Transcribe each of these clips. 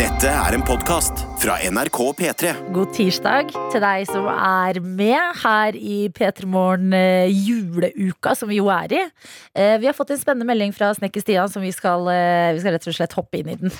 Dette er en podkast fra NRK P3. God tirsdag til deg som er med her i P3 Morgen eh, juleuka, som vi jo er i. Eh, Vi har fått en spennende melding fra Snekker Stian, som vi skal, eh, vi skal rett og slett hoppe inn i den.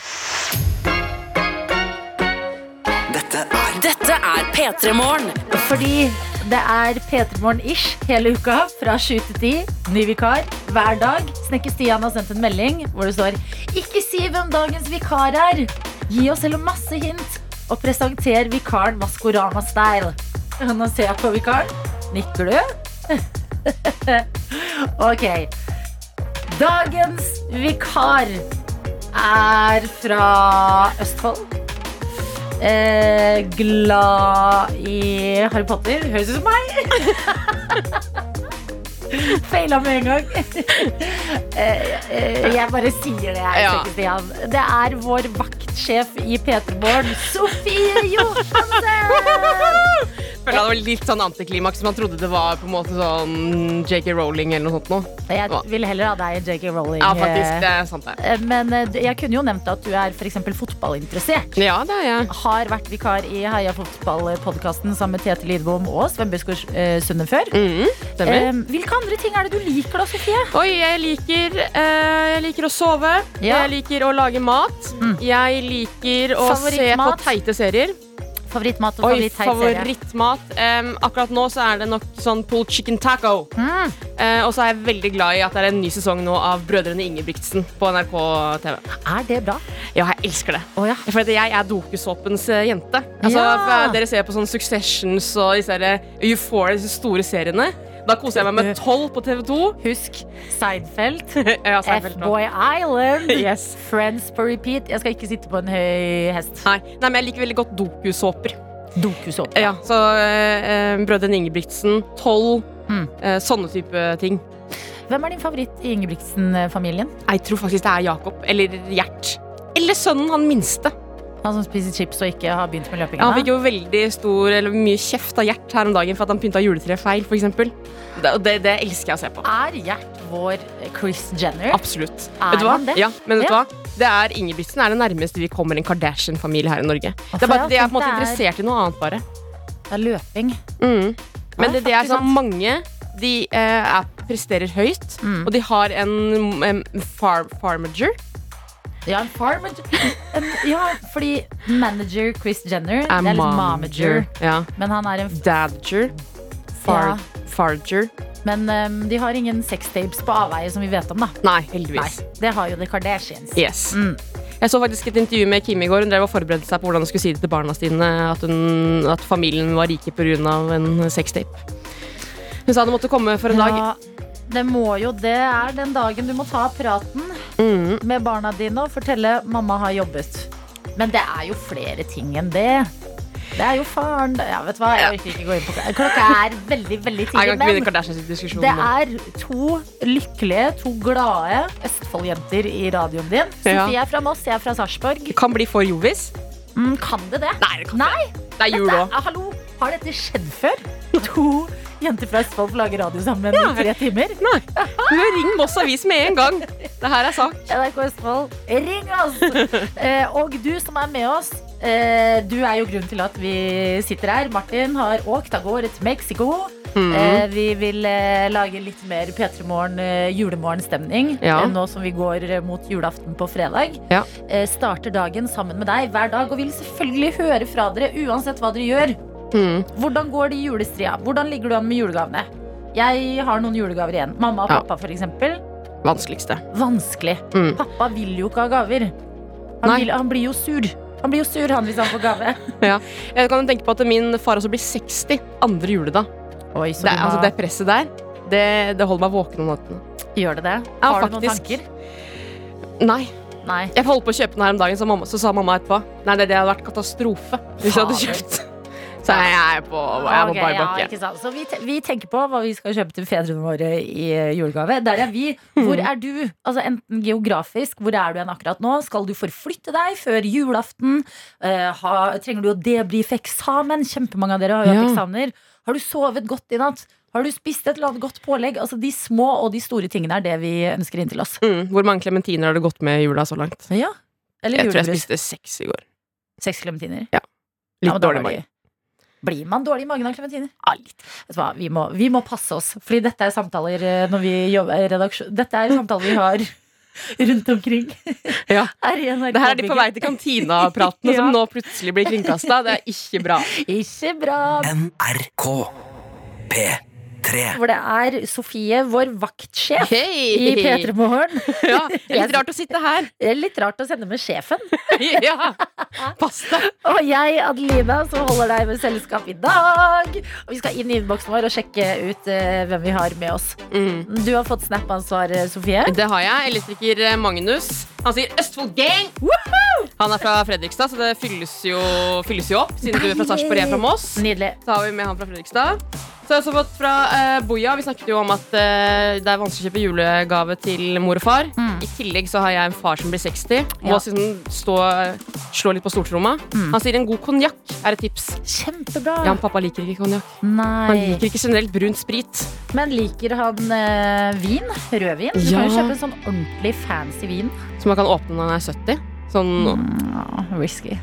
Dette er Dette er P3 Morgen. Fordi det er P3 Morgen-ish hele uka, fra sju til ti. Ny vikar hver dag. Snekker Stian har sendt en melding hvor det står Ikke si hvem dagens vikar er! Gi oss heller masse hint, og presenter vikaren Maskorama-style. Nå ser jeg på vikaren. Nikker du? Ok. Dagens vikar er fra Østfold. Eh, glad i Harry Potter. Høres ut som meg! Feila med en gang. eh, eh, jeg bare sier det, jeg. Ja. Sjekke, Stian. Det er vår vaktsjef i P3 Morgen, Sofie Johansen! føler det var litt sånn antiklimaks. Man trodde det var på en måte sånn JK Rowling eller noe sånt noe. Jeg ville heller ha deg enn JK Rowling. Ja, faktisk. eh, Det er sant, det. Eh, Men eh, jeg kunne jo nevnt at du er for eksempel fotballinteressert. Ja, det er jeg. Har vært vikar i Heia fotball-podkasten sammen med Tete Lidbom og Sven Buskår eh, Sunde før. Mm, Stemmer. Eh, hvilke andre ting er det du liker da, Sofie? Oi, jeg liker, eh, jeg liker å sove. Ja. Jeg liker å lage mat. Jeg liker å se på Favorittmat? teite serier. Favorittmat og Oi, favorittserie. favorittmat. Em, akkurat nå så er det nok sånn pulled chicken taco. Mm. Eh, og så er jeg veldig glad i at det er en ny sesong nå av Brødrene Ingebrigtsen på NRK TV. Er det bra? Ja, jeg elsker det. Å ja. For at jeg er dokusåpens eh, jente. Altså, Ja. for Dere ser på sånn Successions og disse her eh, Euphoria, disse store seriene. Da koser jeg meg med tolv på TV 2. Husk Seinfeld, Ja, Seinfeld nå. F-Boy Island, Yes. Friends på repeat. Jeg skal ikke sitte på en høy hest. Nei, nei, men jeg liker veldig godt dokusåper. Dokusåpe. Ja, så eh, eh, Brødrene Ingebrigtsen, tolv, Mm. eh, sånne type ting. Hvem er din favoritt i Ingebrigtsen-familien? Jeg tror faktisk det er Jakob. Eller Gjert. Eller sønnen, han minste. Han som spiser chips og ikke har begynt med løpinga? Han fikk jo veldig stor, eller mye kjeft av Gjert her om dagen for at han pynta juletreet feil, f.eks. Det, det, det elsker jeg å se på. Er Gjert vår eh, Chris Jenner? Absolutt. Er vet du hva? han det? Ja, men vet du Ja. hva? Det er Ingebrigtsen er det nærmeste vi kommer en Kardashian-familie her i Norge. Det for er bare at jeg De er på en måte tenkte det er- interessert i noe annet, bare. Det er løping. Mm. Men Nei, det, det er faktisk sånn mange de eh, er, presterer høyt, Mm. og de har en, em, far, farmager. Ja, en farmager. En, ja, fordi manager Chris Jenner Er Det er litt momager. momager, Ja. men han er en f- Dadger. Far, Ja. Farger. Men um, de har ingen sextapes på avveie som vi vet om, da. Nei, Nei, heldigvis. det har jo The Kardashians. Yes. Mm. Jeg så faktisk et intervju med Kim i går. Hun drev og forberedte seg på hvordan hun skulle si det til barna sine at, hun, at familien var rike pga. en sextape. Hun sa det måtte komme for en dag. Ja, det må jo Det er den dagen du må ta praten Mm. med barna dine og fortelle 'mamma har jobbet'. Men det er jo flere ting enn det. Det er jo faren det- ja, Vet du hva, jeg orker ikke gå inn på klokka. Klokka er veldig, veldig Jeg kan tidlig. ikke begynne Men Kardashians-diskusjon Det nå. er to lykkelige, to glade Østfold-jenter i radioen din. Ja. Sofie er fra Moss, jeg er fra Sarpsborg. Det kan bli for jovis. Mm, kan det det? Nei, det kan Nei, ikke. Det er jul dette, òg. hallo, Har dette skjedd før? To jenter fra Østfold får lage radio sammen Ja. i tre timer. Ring Moss Avis med en gang. Det her er sak. NRK Østfold, ring oss! eh, og du som er med oss, eh, du er jo grunnen til at vi sitter her. Martin har åkt av gårde til Mexico. Mm. Eh, vi vil eh, lage litt mer P3 Morgen eh, julemorgenstemning Ja. eh, nå som vi går eh, mot julaften på fredag. Ja. Eh, starter dagen sammen med deg hver dag og vil selvfølgelig høre fra dere uansett hva dere gjør. Mm. Hvordan går det i julestria? Hvordan ligger du an med julegavene? Jeg har noen julegaver igjen. Mamma og Ja. pappa, for eksempel. Vanskeligste. Vanskelig. Mm. Pappa vil jo ikke ha gaver. Han, Nei. vil, han blir jo sur. Han blir jo sur han hvis han får gave. Jeg Eh, kan tenke på at min far også blir 60 andre juledag. Oi, så Det, du må, altså, det presset der, det, det holder meg våken om natten. gjør det det? Ja, Har du noen faktisk. tanker? Nei. Nei. Jeg holdt på å kjøpe den her om dagen, så, mamma, så sa mamma etterpå Nei, det, det hadde vært katastrofe hvis jeg hadde Fader. kjøpt. Så jeg er på, jeg er på Ah, Ok, bar ja, bakke. ikke sant. Så vi, te vi tenker på hva vi skal kjøpe til fedrene våre i eh, julegave. Der er vi. Hvor er du? Altså Enten geografisk, hvor er du enn akkurat nå? Skal du forflytte deg før julaften? Eh, ha, trenger du å debrife eksamen? Kjempemange av dere har jo hatt Ja. eksamener. Har du sovet godt i natt? Har du spist et eller annet godt pålegg? Altså De små og de store tingene er det vi ønsker inn til oss. Mm, hvor mange klementiner har du gått med i jula så langt? Ja, Eller Jeg tror jeg julebrus. spiste seks i går. Seks klementiner. Litt dårlig mage. Blir man dårlig i magen av klementiner? Ja, litt. Vet du hva, vi må, vi må passe oss, Fordi dette er samtaler eh, når vi jobber i redaksjon. Dette er samtaler vi har rundt omkring. Ja. Her i NRK. Det her er de på vei til kantina-pratene Ja. som nå plutselig blir kringkasta. Det er ikke bra. Ikke bra. NRK P3. Hvor det er Sofie, vår vaktsjef i P3 Morgen. Ja, litt rart å sitte her. Det er Litt rart å sende med sjefen. Ja. Pass deg. Og jeg, Adelina, som holder deg med selskap i dag. Og vi skal inn i innboksen vår og sjekke ut eh, hvem vi har med oss. Mm. Du har fått Snap-ansvar, eh, Sofie. Det har jeg. Elektriker eh, Magnus. Han sier Østfold Gang! Han er fra Fredrikstad, så det fylles jo, fylles jo opp. Siden du er fra Sarpsborg, jeg er fra Moss. Nydelig. Så har vi med han fra Fredrikstad. Så har jeg også fått fra eh, Boja. Vi snakket jo om at eh, det er vanskelig å kjøpe julegave til mor og far. I tillegg så har jeg en far som blir 60. Må Ja. liksom stå, slå litt på stortromma. Han sier en god konjakk er et tips. Kjempebra. Mm. Ja, men pappa liker ikke konjakk. Han Nei. liker ikke generelt brunt sprit. Men liker han eh, vin? Rødvin? Du Ja. kan jo kjøpe en sånn ordentlig fancy vin. Som man kan åpne når han er 70. Sånn Risky.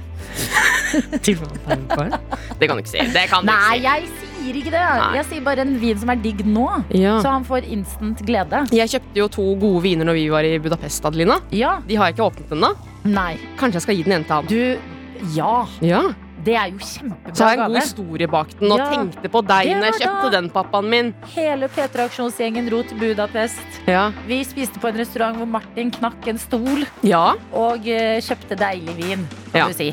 Det kan du ikke si. Det kan du Nei, ikke si. jeg sier ikke det. Nei. Jeg sier bare en vin som er digg nå. Ja. Så han får instant glede. Jeg kjøpte jo to gode viner når vi var i Budapest, Adelina. Ja. De har jeg ikke åpnet ennå. Nei. Kanskje jeg skal gi den ene til han. Du Ja. Ja. Det er jo kjempebra Så har jeg en god gave. historie bak den, og Ja. tenkte på deg Det når jeg var kjøpte da. den, pappaen min. Hele P3-aksjonsgjengen dro til Budapest. Ja. Vi spiste på en restaurant hvor Martin knakk en stol ja. og eh, kjøpte deilig vin, kan Ja. du si.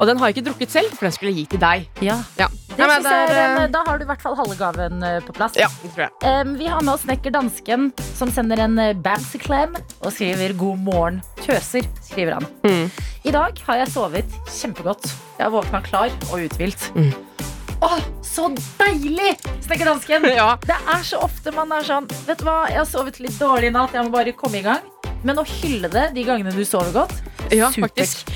Og den har jeg ikke drukket selv, for den skulle jeg gi til deg. Ja. Ja. Det Nei, men synes jeg er eh, en, da har du i hvert fall halve gaven eh, på plass. ja, det tror jeg. Em, vi har med oss snekker dansken, som sender en eh, bamseklem og skriver 'god morgen, tøser'. skriver han. Mm. I dag har jeg sovet kjempegodt. Jeg har våkna klar og uthvilt. Mm. Åh, så deilig! Snekker dansken. Ja. Det er så ofte man er sånn Vet du hva, jeg har sovet litt dårlig i natt, jeg må bare komme i gang. Men å hylle det de gangene du sover godt ja, supert. faktisk.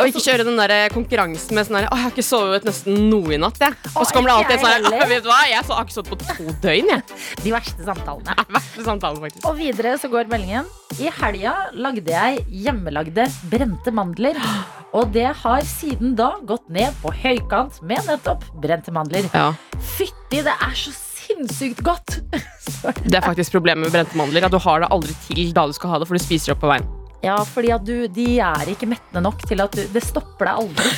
Og ikke kjøre den der konkurransen med sånn her Å, jeg har ikke sovet nesten noe i natt, jeg. Og Å, så kommer det ikke alltid jeg sånn her heller. «Å, Vet du hva, jeg så har ikke sovet på to døgn, jeg. De verste samtalene. Det er verste samtalen, faktisk. Og videre så går meldingen. I helga lagde jeg hjemmelagde brente mandler. Og det har siden da gått ned på høykant med nettopp brente mandler. Ja. Fytti, det er så sinnssykt godt! Så- Det er faktisk problemet med brente mandler. At du har det aldri til da du skal ha det, for du spiser det opp på veien. Ja, fordi at du, de er ikke mettende nok til at du, det stopper deg aldri.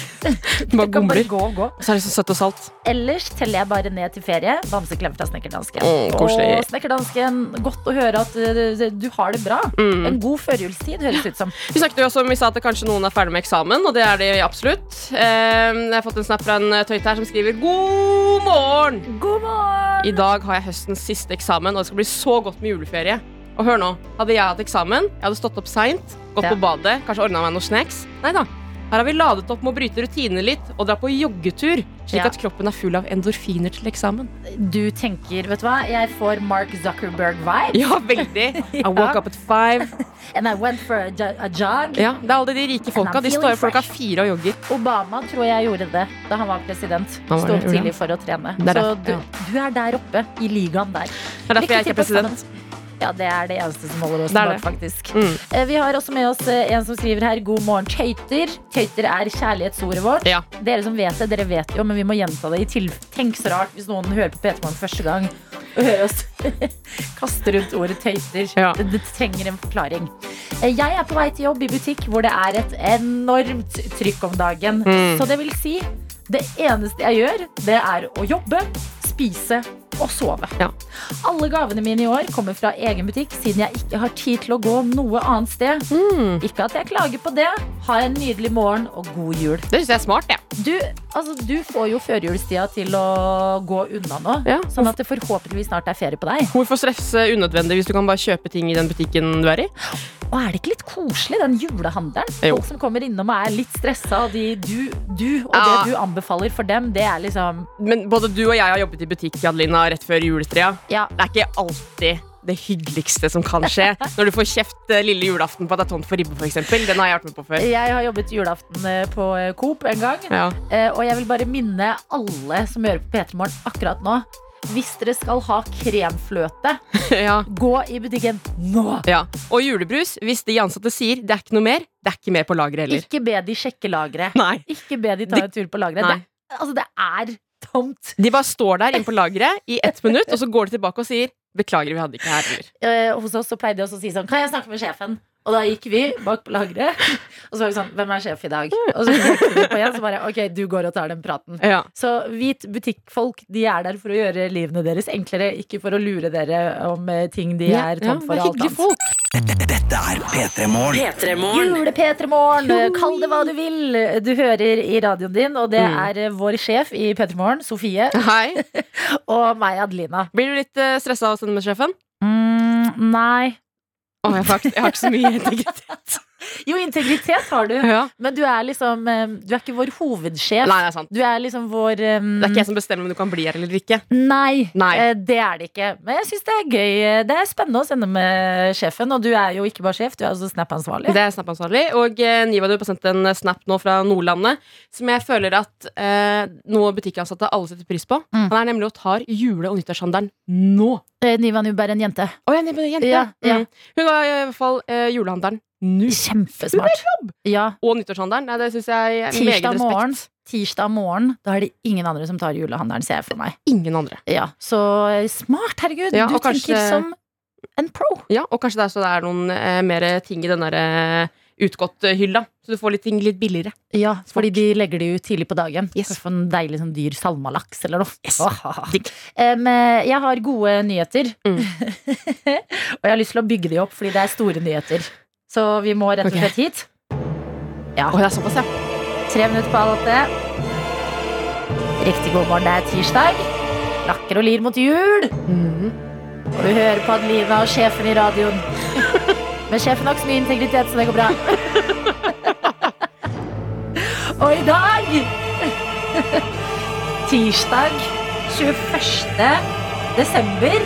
Du bare Det kan bare gomler. gå og gå. Så er det så søtt og salt. Ellers teller jeg bare ned til ferie. Bamseklem fra snekkerdansken. Å, Mm, koselig. Og snekkerdansken, godt å høre at eh, du har det bra. Mm. En god førjulstid, høres det ut som. Vi snakket jo også om vi sa at det kanskje noen er ferdig med eksamen, og det er de absolutt. Eh, Jeg har fått en snap fra en tøyte her som skriver God morgen! God morgen! I dag har jeg høstens siste eksamen, og det skal bli så godt med juleferie. Og hør nå, hadde jeg hatt eksamen, jeg hadde stått opp seint, gått Ja. på badet, kanskje ordna meg noen snacks. Nei da. Her har vi ladet opp med å bryte rutinene litt og dra på joggetur, slik Ja. at kroppen er full av endorfiner til eksamen. Du tenker, vet du hva, jeg får Mark Zuckerberg-vibe. Ja, veldig. I Ja. woke up at five. And I went for a, jo- a jog. Ja, det er alle de rike folka. De står jo klokka fire og jogger. Obama tror jeg gjorde det da han var president. Han var Stå opp det, gjorde han. tidlig for å trene. Det er Så derfor, du, ja. du er der oppe, i ligaen der. Det er derfor jeg ikke er president. Ja, det er det eneste som holder oss Det er tilbake, det. faktisk. Mm. Eh, Vi har også med oss eh, en som skriver her 'God morgen, tøyter'. Tøyter er kjærlighetsordet vårt. Ja. Dere som vet det, dere vet jo, men vi må gjenta det. i til- Tenk så rart hvis noen hører på P3 Morgen første gang og hører oss kaste rundt ordet tøyter. Ja. Det, det trenger en forklaring. Eh, Jeg er på vei til jobb i butikk hvor det er et enormt trykk om dagen. Mm. Så det vil si, det eneste jeg gjør, det er å jobbe, spise og sove. Ja. Alle gavene mine i år kommer fra egen butikk, siden jeg ikke har tid til å gå noe annet sted. Mm. Ikke at jeg klager på det. Ha en nydelig morgen og god jul. Det syns jeg er smart, jeg. Du, altså, du får jo førjulstida til å gå unna nå, Ja. sånn at det forhåpentligvis snart er ferie på deg. Hvorfor stresse unødvendig hvis du kan bare kjøpe ting i den butikken du er i? Og er det ikke litt koselig, den julehandelen? Jo. Folk som kommer innom og er litt stressa, og de du, du og Ja. det du anbefaler for dem, det er liksom Men både du og jeg har jobbet i butikk Adelina, rett før juletrea. Ja, Det er ikke alltid det hyggeligste som kan skje. Når du får kjeft eh, lille julaften på at det er tomt for ribbe, f.eks. Den har jeg vært med på før. jeg har jobbet julaften eh, på eh, Coop en gang. Ja. Eh, Og jeg vil bare minne alle som hører på P3 Morgen akkurat nå. Hvis dere skal ha kremfløte, ja. gå i butikken nå! ja. Og julebrus, hvis de ansatte sier det er ikke noe mer, det er ikke mer på lageret heller. Ikke be de sjekke lageret. Nei. Ikke be de ta en tur på Nei. lageret. Det, altså, det er tomt. De bare står der inne på lageret i ett minutt, og så går de tilbake og sier beklager, vi hadde ikke her. heller». Eh, hos oss så pleide de også å si sånn Kan jeg snakke med sjefen? Og da gikk vi bak på lageret, og så var det sånn Hvem er sjef i dag? Og så gikk vi på igjen, så bare OK, du går og tar den praten. Ja. Så hvit butikkfolk de er der for å gjøre livene deres enklere, ikke for å lure dere om eh, ting de Ja, er ja, tomt for. det er og alt hyggelige annet. folk. Dette er P3 Morgen. P3morgen. Jule-P3morgen! eh, Kall det hva du vil. eh, Du hører i radioen din, og det Mm. er eh, vår sjef i P3morgen, Sofie, Hei. og meg, Adelina. Blir du litt uh, stressa av å stemme med sjefen? Mm, nei Å, jeg, har ikke- jeg har ikke så mye integritet. Jo, integritet har du, Ja. men du er liksom eh, Du er ikke vår hovedsjef. Nei, det er sant. Du er liksom vår um, Det er ikke jeg som bestemmer om du kan bli her eller ikke. Nei, Nei. eh, det er det ikke. Men jeg syns det er gøy. eh, Det er spennende å sende med sjefen. Og du er jo ikke bare sjef, du er også Snap-ansvarlig. Det er Snap-ansvarlig. Og eh, Niva, du har sendt en Snap nå fra Nordlandet som jeg føler at eh, noe butikkansatte alle setter pris på. Mm. Han er nemlig og tar jule- og nyttårshandelen nå. Eh, Niva Nubber, en jente. Å, jeg nevner jente. Ja, ja. Mm. Hun var i hvert fall eh, julehandelen nå. Kjempesmart. Ja, Og nyttårshandelen. Nei, det syns jeg er meget Tirsdag respekt. morgen. Tirsdag morgen. Da er det ingen andre som tar julehandelen, ser jeg for meg. Ingen andre. Ja, Så eh, smart, herregud. Ja, du og kanskje- tenker som en pro. Ja, og kanskje det er så det er noen eh, mer ting i den der eh, utgått-hylla. Så du får litt ting litt billigere. Ja, Smart. fordi de legger det ut tidlig på dagen. Yes. For å få en deilig sånn dyr salmalaks eller noe. Åh. Em, eh, jeg har gode nyheter. Mm. og jeg har lyst til å bygge de opp, fordi det er store nyheter. Så vi må rett og Ok. slett hit. Å, det er såpass, ja. Tre minutter på halv åtte. Riktig god morgen, det er tirsdag. Lakker og lir mot jul. Mhm. Og du hører på Adelina og sjefen i radioen. Men sjefen har ikke så mye integritet, så det går bra. Og i dag Tirsdag 21. desember.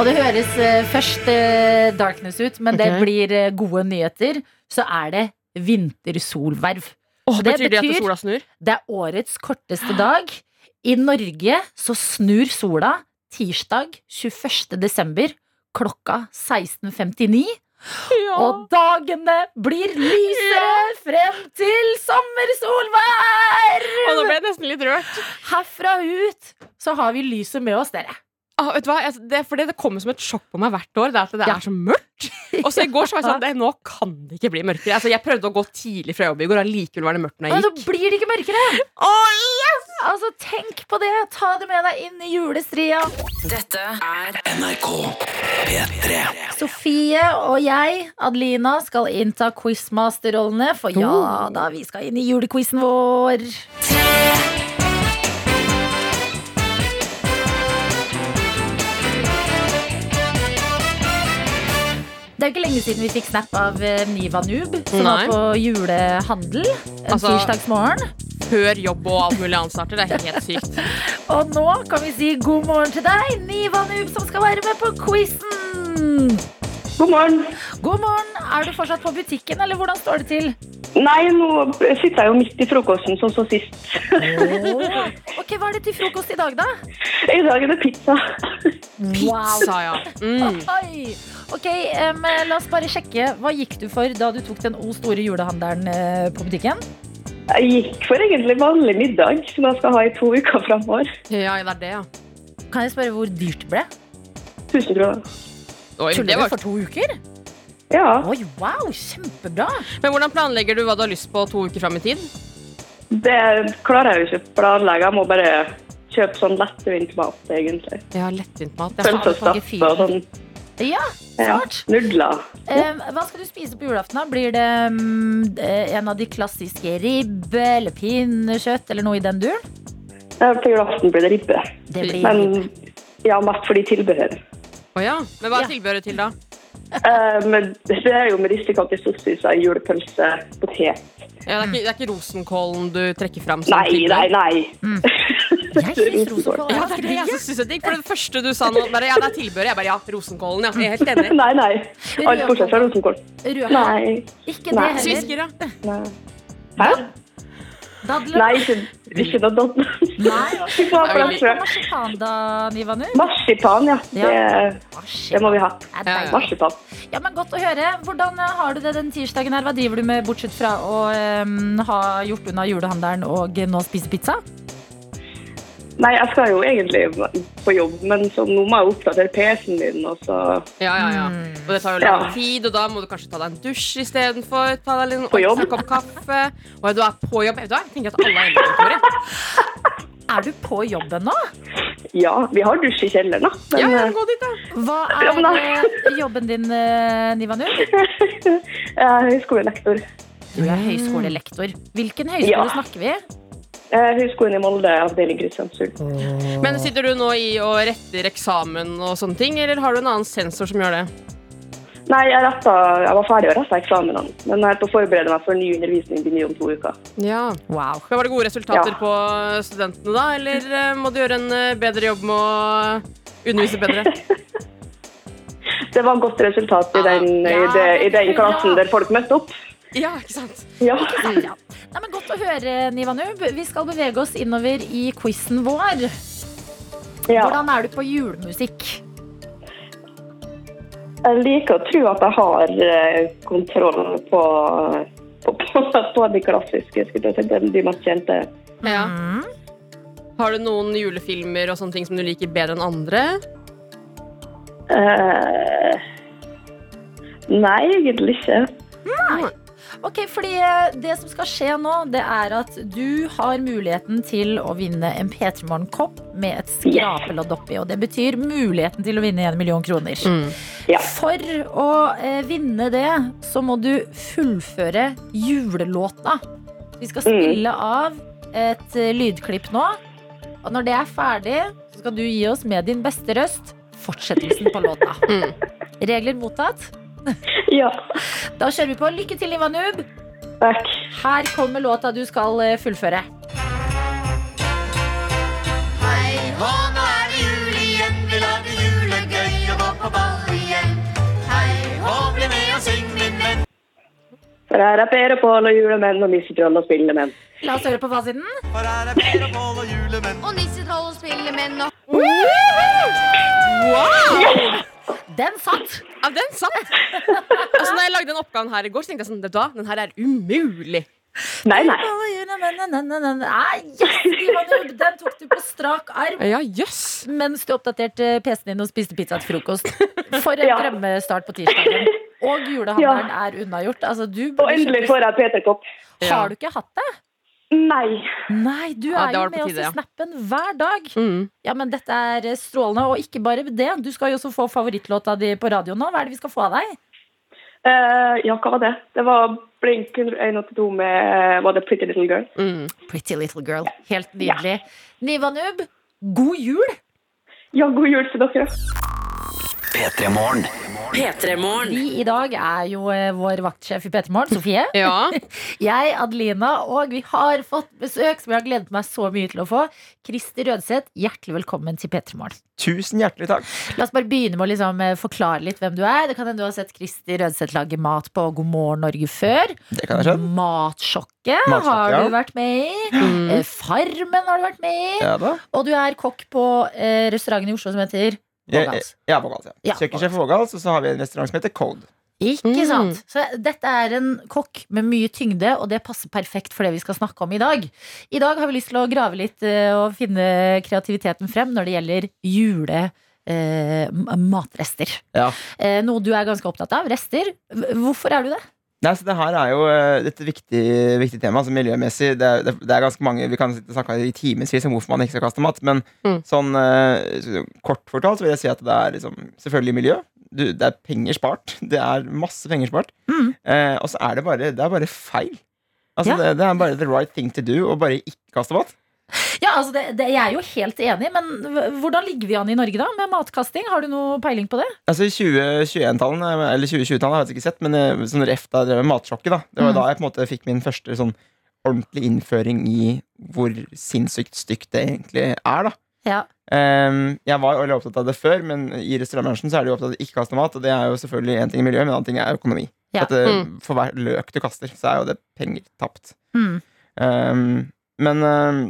Og det høres eh, først eh, darkness ut, men det Ok. blir eh, gode nyheter. Så er det vintersolverv. Åh, Det betyr det betyr- at sola snur? Det er årets korteste dag. I Norge så snur sola tirsdag 21. desember klokka 16.59. Og dagene blir lysere frem til sommersolvær! Å, nå ble jeg nesten litt rørt. Herfra ut så har vi lyset med oss, dere. Ah, vet du hva? Jeg- Det, fordi det kommer som et sjokk på meg hvert år. Det er at det Ja. er så mørkt. Og så i går så var jeg sånn "Nei, Nå kan det ikke bli mørkere. Altså, jeg prøvde å gå tidlig fra jobb i går, og allikevel var det mørkt når Og jeg da gikk. blir det ikke mørkere! Oi! Altså, Tenk på det! Ta det med deg inn i julestria. Dette er NRK P3. Sofie og jeg, Adelina, skal innta quizmaster-rollene. For Oh. ja da, vi skal inn i julequizen vår. Det er jo ikke lenge siden vi fikk snap av eh, Niva Noob, som Nei. var på julehandel en Altså- tirsdagsmorgen. Før jobb og alt mulig annet starter. Det er helt sykt. Og nå kan vi si god morgen til deg, Niva Noob, som skal være med på quizen. God morgen. God morgen. Er du fortsatt på butikken, eller hvordan står det til? Nei, nå sitter jeg jo midt i frokosten, sånn som sist. Ok, Hva er det til frokost i dag, da? I dag er det pizza. Sa ja. Mm. Oi. Ok, em, La oss bare sjekke. Hva gikk du for da du tok den O store julehandelen eh, på butikken? Jeg gikk for egentlig vanlig middag, som jeg skal ha i to uker framover. Ja, det er det, ja. Kan jeg spørre hvor dyrt det ble? 1000 kroner. Oi, det Tuller du var for to uker? Ja. Oi, wow, Kjempebra! Men hvordan planlegger du hva du har lyst på to uker fram i tid? Det klarer jeg jo ikke å planlegge. Jeg må bare kjøpe sånn lettvint mat, egentlig. Jeg har lettvint mat. Jeg Pølse har og stappe og sånn. Ja, Ja. Smart. Nudler. Em, Hva skal du spise på julaften? da? Blir det em, eh, en av de klassiske ribbe eller pinnekjøtt eller noe i den duren? Ja, På julaften blir det ribbe. Det blir Men ja, mest fordi tilbehør. Å ja. Men hva Ja. er tilbehøret til, da? Eh, men det er jo med ristekake, sossiser, julepølse, potet. Ja, det, er ikke, det er ikke rosenkålen du trekker fram? som Nei, tilbehør? nei, nei. Jeg synes rosenkål er Ja, det er det jeg ganske digg. også synes er digg. For det første du sa nå, bare, ja, det er tilbehøret. Jeg bare ja, rosenkålen. Ja. Jeg er helt enig. Nei, nei. Alt bortsett fra rosenkål. Rødkål. Nei. Ikke det Nei. heller. Svisker, ja. nei. Hæ? Dadler? Nei, ikke, ikke noe dadler. Nei. Fy faen, for en trø. Marsipan da, Nivanu? Marsipan, ja. Ja. Det, det må vi ha. Det er deilig. Marsipan. Ja, men Godt å høre. Hvordan eh, har du det den tirsdagen her? Hva driver du med, bortsett fra å eh, ha gjort unna julehandelen og eh, nå spise pizza? Nei, jeg skal jo egentlig på jobb, men så nå må jeg oppdatere PC-en min, og så Ja, ja, ja. Og det tar jo lang Ja. tid, og da må du kanskje ta deg en dusj istedenfor. Ta deg en På jobb. en kopp kaffe. Og du er på jobb. Vet du hva? Jeg tenker at alle er hjemmekontoret. Er du på jobb ennå? Ja, vi har dusj i kjelleren, da. Ja, Men ja, eh, gå dit, da. Hva Ja, er men da- eh, jobben din, eh, Nivanu? jeg er høyskolelektor. Du er høyskolelektor. Hvilken Ja. høyskole snakker vi? Eh, Høgskolen i Molde, avdeling Kristiansund. Men sitter du nå i og retter eksamen og sånne ting, eller har du en annen sensor som gjør det? Nei, jeg, retta, jeg var ferdig å rette eksamenene, men jeg er på å forberede meg for ny undervisning begynner om to uker. Ja. Wow. Men var det gode resultater Ja. på studentene da, eller eh, må du gjøre en eh, bedre jobb med å undervise bedre? Det var et godt resultat i den, i Ja, det, i det er den klassen bra. der folk møtte opp. Ja, ikke sant? Ja. Ja. Nei, men Godt å høre, Nivanu. Vi skal bevege oss innover i quizen vår. ja. Hvordan er du på julemusikk? Jeg liker å tro at jeg har eh, kontroll på, på, på, på de klassiske, skulle jeg si, de- de mest kjente. Ja. Mm. Har du noen julefilmer og sånne ting som du liker bedre enn andre? Eh, nei, egentlig ikke. Ok, fordi eh, Det som skal skje nå, det er at du har muligheten til å vinne en P3 Morgen-kopp med et skrapelodd oppi. Og det betyr muligheten til å vinne en million kroner. Mm, Ja. For å eh, vinne det, så må du fullføre julelåta. Vi skal spille av et eh, lydklipp nå. Og når det er ferdig, så skal du gi oss med din beste røst fortsettelsen på låta. Mm. Regler mottatt. Ja, Da kjører vi på. Lykke til, Ivanub. takk. Her kommer låta du skal eh, fullføre. Hei, hå, nå er det jul igjen. Vi lager julegøy og går på ball igjen. Hei, hå, bli med og syng, min venn. For her er Per og Pål og julemenn og missetroll og spillemenn. La oss høre på fasiten. For her er Per og Pål og julemenn. Og nissetroll og spillemenn og Wow! Den satt! Ja, den satt! Altså, når jeg lagde den oppgaven her i går, så tenkte jeg sånn, vet du hva, den her er umulig. Nei, nei. Nei, yes, Ivanub, den tok du på strak arm Ja, jøss. mens du oppdaterte eh, PC-en din og spiste pizza til frokost. For en Ja. drømmestart på tirsdagen. Og julehandelen er unnagjort. Altså, du Og endelig får jeg Peter-kopp. Har du ikke hatt det? Nei. Nei, du Ja, er det jo var det med på oss tide, i ja. snappen hver dag. Mm. Ja, men Dette er eh, strålende. Og ikke bare det, du skal jo også få favorittlåta di på radioen nå. Hva er det vi skal få av deg? Eh, ja, hva var det? Det var Blink 182 med eh, Var det Pretty Little Girl? Mm. Pretty Little Girl. Helt nydelig. Nivanub, god jul! Ja, god jul til dere. P3 Morgen. P3 Morgen. Vi i dag er jo eh, vår vaktsjef i P3 Morgen, Sofie. Ja. Jeg, Adelina, og vi har fått besøk som jeg har gledet meg så mye til å få. Krister Rødseth, hjertelig velkommen til P3 Morgen. Tusen hjertelig takk. La oss bare begynne med å liksom eh, forklare litt hvem du er. Det kan hende du har sett Krister Rødseth lage mat på God morgen Norge før. Det kan jeg skjønne. Matsjokket Matsjokket, har ja. du vært med i. Mm. Eh, Farmen har du vært med i. Ja da. Og du er kokk på eh, restauranten i Oslo som heter Jeg, jeg, Vågals. jeg er Vågals, ja. Ja, Kjøkkensjef Vågals, og så har vi en restaurant som heter Code. Ikke Mm. sant? Så dette er en kokk med mye tyngde, og det passer perfekt for det vi skal snakke om i dag. I dag har vi lyst til å grave litt eh, og finne kreativiteten frem når det gjelder jule... Eh, m- matrester. Ja. Eh, noe du er ganske opptatt av. Rester. H- Hvorfor er du det? Nei, så det her er jo eh, et viktig, viktig tema, altså miljømessig. Det er, det, det er ganske mange, Vi kan sitte og snakke i timevis om hvorfor man ikke skal kaste mat, men Mm. sånn eh, så- kort fortalt så vil jeg si at det er liksom, selvfølgelig miljø. Du, det er penger spart. Det er masse penger spart. Mm. Eh, og så er det bare, det er bare feil. Altså, Ja. det, det er bare the right thing to do å bare ikke kaste mat. Ja, altså det, det, Jeg er jo helt enig, men h- hvordan ligger vi an i Norge da med matkasting? Har du noe peiling på det? Altså i 2021-tallene, eller 2020-tallene har jeg ikke sett, men eh, sånn ref da jeg drev med matsjokket, da. Det var Mm. da jeg på en måte fikk min første sånn ordentlig innføring i hvor sinnssykt stygt det egentlig er, da. Ja. Ehm, jeg var veldig opptatt av det før, men i restaurantbransjen så er de jo opptatt av ikke kaste mat, og det er jo selvfølgelig en ting i miljøet, men en annen ting er økonomi. Ja. At, eh, Mm. For hver løk du kaster, så er jo det penger tapt. Mm. Um, men um,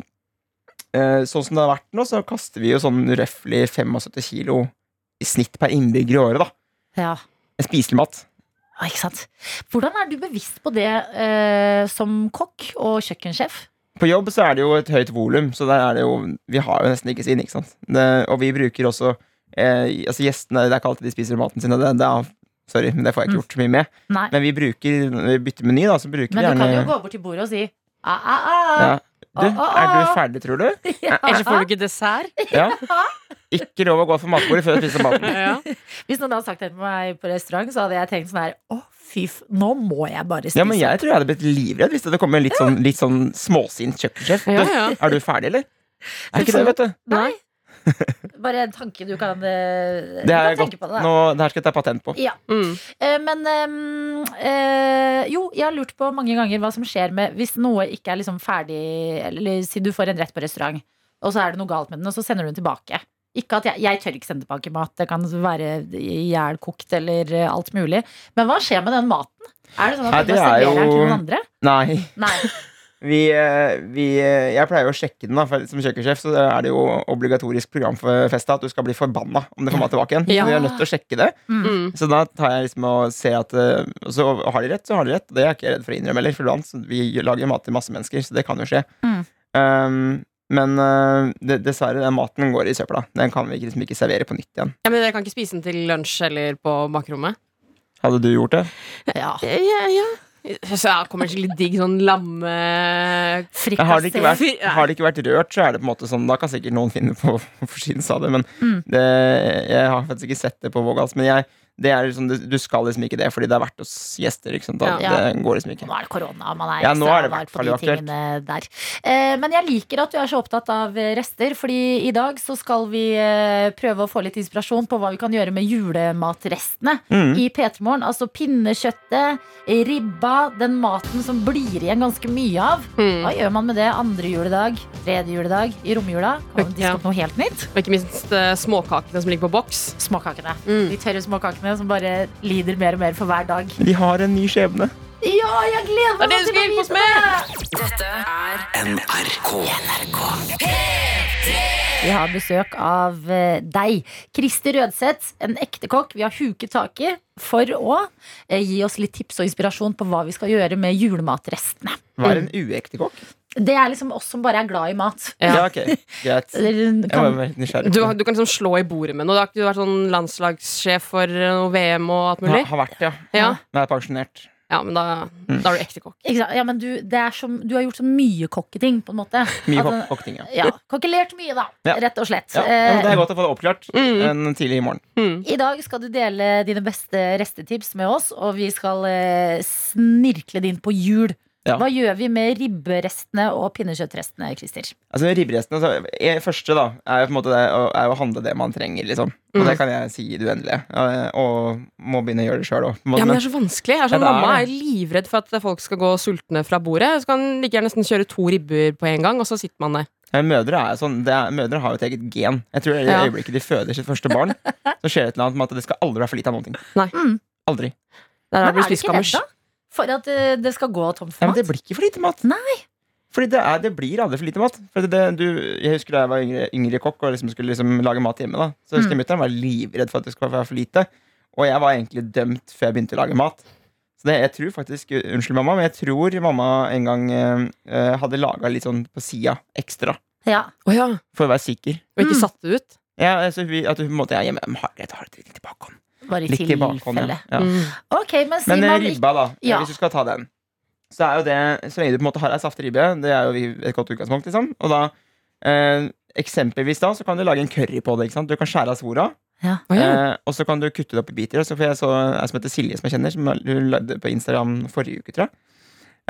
eh, sånn som det har vært nå, så kaster vi jo sånn røftlig 75 kilo i snitt per innbygger i året, da. Ja. Spiselig mat. Ja, ikke sant? Hvordan er du bevisst på det eh, som kokk og kjøkkensjef? På jobb så er det jo et høyt volum, så der er det jo Vi har jo nesten ikke svinn, ikke sant. Det, og vi bruker også eh, Altså gjestene Det er ikke alltid de spiser maten sin, og det, det er Sorry, men det får jeg ikke gjort så mye med. Nei, Men vi bruker når vi bytter meny, da, så bruker Mm. men vi du kan gjerne jo gå Ah, bort til bordet og si "Ah, a, a, a. ja. Du, er du ferdig, tror du? Ellers får du ikke dessert. Ja. Ikke lov å gå for matbordet før du spiser maten. Ja. Hvis noen hadde sagt det til meg på restaurant, så hadde jeg tenkt sånn her Å, fy f... Nå må jeg bare spise. Ja, men jeg tror jeg hadde blitt livredd hvis det hadde kommet en litt sånn, litt sånn småsint kjøkkensjef. Ja, ja. Du, Er du ferdig, eller? Er ikke det, vet du. Nei. Bare en tanke du kan, eh, du Det kan er godt. tenke på det. da. Nå, det her skal jeg ta patent på. Ja. Mm. Eh, Men ehm, eh, jo, jeg har lurt på mange ganger hva som skjer med hvis noe ikke er liksom ferdig Eller si du får en rett på restaurant, og så er det noe galt med den, og så sender du den tilbake. Ikke at jeg, jeg tør ikke sende tilbake mat. Det kan være ihjelkokt eller eh, alt mulig. Men hva skjer med den maten? Er det sånn at Nei, du det bare er serverer den til jo- noen andre? Nei. Nei. Vi, eh, vi, eh, jeg pleier jo å sjekke den, da, for som kjøkkensjef så er det jo obligatorisk program for festa at du skal bli forbanna om du får mat tilbake igjen. Ja. Så vi er nødt til å sjekke det. Mm. Så da tar jeg liksom og ser at eh, Og så har de rett, så har de rett. Det er jeg ikke redd for å innrømme heller, for iblant så vi lager mat til masse mennesker, så det kan jo skje. Mm. Um, men eh, det, dessverre, den maten går i søpla. Den kan vi ikke- liksom ikke servere på nytt igjen. Ja, men Dere kan ikke spise den til lunsj eller på bakrommet? Hadde du gjort det? Ja. Eh, Ja, ja. Så ja, kommer det skikkelig digg sånn lamme... Men Har det, ikke Frikassé. vært, har det ikke vært rørt, så er det på en måte sånn Da kan sikkert noen finne på å forsyne seg av det, men Mm. det, jeg har faktisk ikke sett det på Vågals. Men jeg, det er liksom, du, du skal liksom ikke det, fordi det er verdt hos gjester. Ikke sant? Da, Ja. Det går liksom ikke. Nå er det korona, og man er Ja, ekstra nå er det i var hvert på fall de uaktuelt. tingene der. Eh, Men jeg liker at du er så opptatt av eh, rester, fordi i dag så skal vi eh, prøve å få litt inspirasjon på hva vi kan gjøre med julematrestene Mm. i P3morgen. Altså pinnekjøttet, ribba, den maten som blir igjen ganske mye av. Mm. Hva gjør man med det andre juledag, tredje juledag, i romjula? Kan man diske Ja. opp noe helt nytt? Og ikke minst eh, småkakene som ligger på boks. Småkakene. Mm. De tørre småkakene som bare lider mer og mer for hver dag. De har en ny skjebne. Ja, jeg gleder Det er meg det til å du skal hjelpe oss vite med! det! NRK. Vi har besøk av eh, deg, Kristi Rødseth, en ekte kokk. Vi har huket tak i for å eh, gi oss litt tips og inspirasjon på hva vi skal gjøre med julematrestene. Hva er en Mm. uekte kokk? Det er liksom oss som bare er glad i mat. Ja. Ja, ok, greit. Jeg Eller var Kan, veldig nysgjerrig. Du, du kan liksom slå i bordet med noe. Du har ikke vært sånn landslagssjef for eh, noe VM og alt Ha, mulig? har vært, ja. Mm. Ja, Nå er jeg pensjonert. ja men da, da er du ekte kokk. ikke sant? Ja, men du, det er som, du har gjort så mye kokketing, på en måte. Mye At kokk- den- kokking, ja. Altså, Ja, Kokkelert mye, da. Ja. Rett og slett. ja. ja men det Eh, mm. er godt å få det oppklart en tidlig i morgen. I dag skal du dele dine beste restetips med oss, og vi skal eh, snirkle det inn på jul. Ja. Hva gjør vi med ribberestene og pinnekjøttrestene, Christer? Altså Ribberestene så, eh, første da er jo på en måte det, å- er jo å handle det man trenger, liksom. Og Mm. det kan jeg si i det uendelige. Eh, Og må begynne å gjøre det sjøl òg. Ja, men det er så vanskelig. Jeg er Ja, sånn, det er mamma er det. livredd for at folk skal gå sultne fra bordet. Så kan de like gjerne nesten kjøre to ribber på en gang, og så sitter man der. Mødre er jo sånn det er, Mødre har jo et eget gen. Jeg tror I det Ja. øyeblikket de føder sitt første barn, så skjer det et eller annet med at det skal aldri være for lite av noen ting. Nei. Mm. Aldri. Der har Men du er du spist ikke redd kammers. da? For at eh, det skal gå tom Ja, for men det mat? blir ikke for lite mat. Nei. Fordi det, er, det blir aldri for lite mat. Fordi det, du, jeg husker da jeg var yngre, yngre kokk og liksom skulle liksom lage mat hjemme. da Så husker jeg Mm. mutter'n var livredd for at det skulle være for lite. Og jeg var egentlig dømt før jeg begynte å lage mat. Så det, jeg tror faktisk, Unnskyld, mamma, men jeg tror mamma en gang eh, eh, hadde laga litt sånn på sida ekstra. Ja. Å ja. For å være sikker. Og Mm. ikke satt det ut. Ja, altså, vi, at hun på en måte er hjemme. Jeg har jeg har det litt i bakhånd. Bare i Litt i bakhånd, tilfelle. ja. ja. Mm. Ok, men sier Men eh, man ikke ribba, da. Ja. Hvis du skal ta den. Så er jo det, så lenge du på en måte har ei saftig ribbe, det er jo vi- et godt utgangspunkt. liksom Og da, eh, Eksempelvis da, så kan du lage en curry på det. ikke sant? Du kan skjære av Å svora, ja. eh, og så kan du kutte det opp i biter. Og så får jeg så ei som heter Silje, som jeg kjenner, som hun lagde på Instagram forrige uke, tror jeg.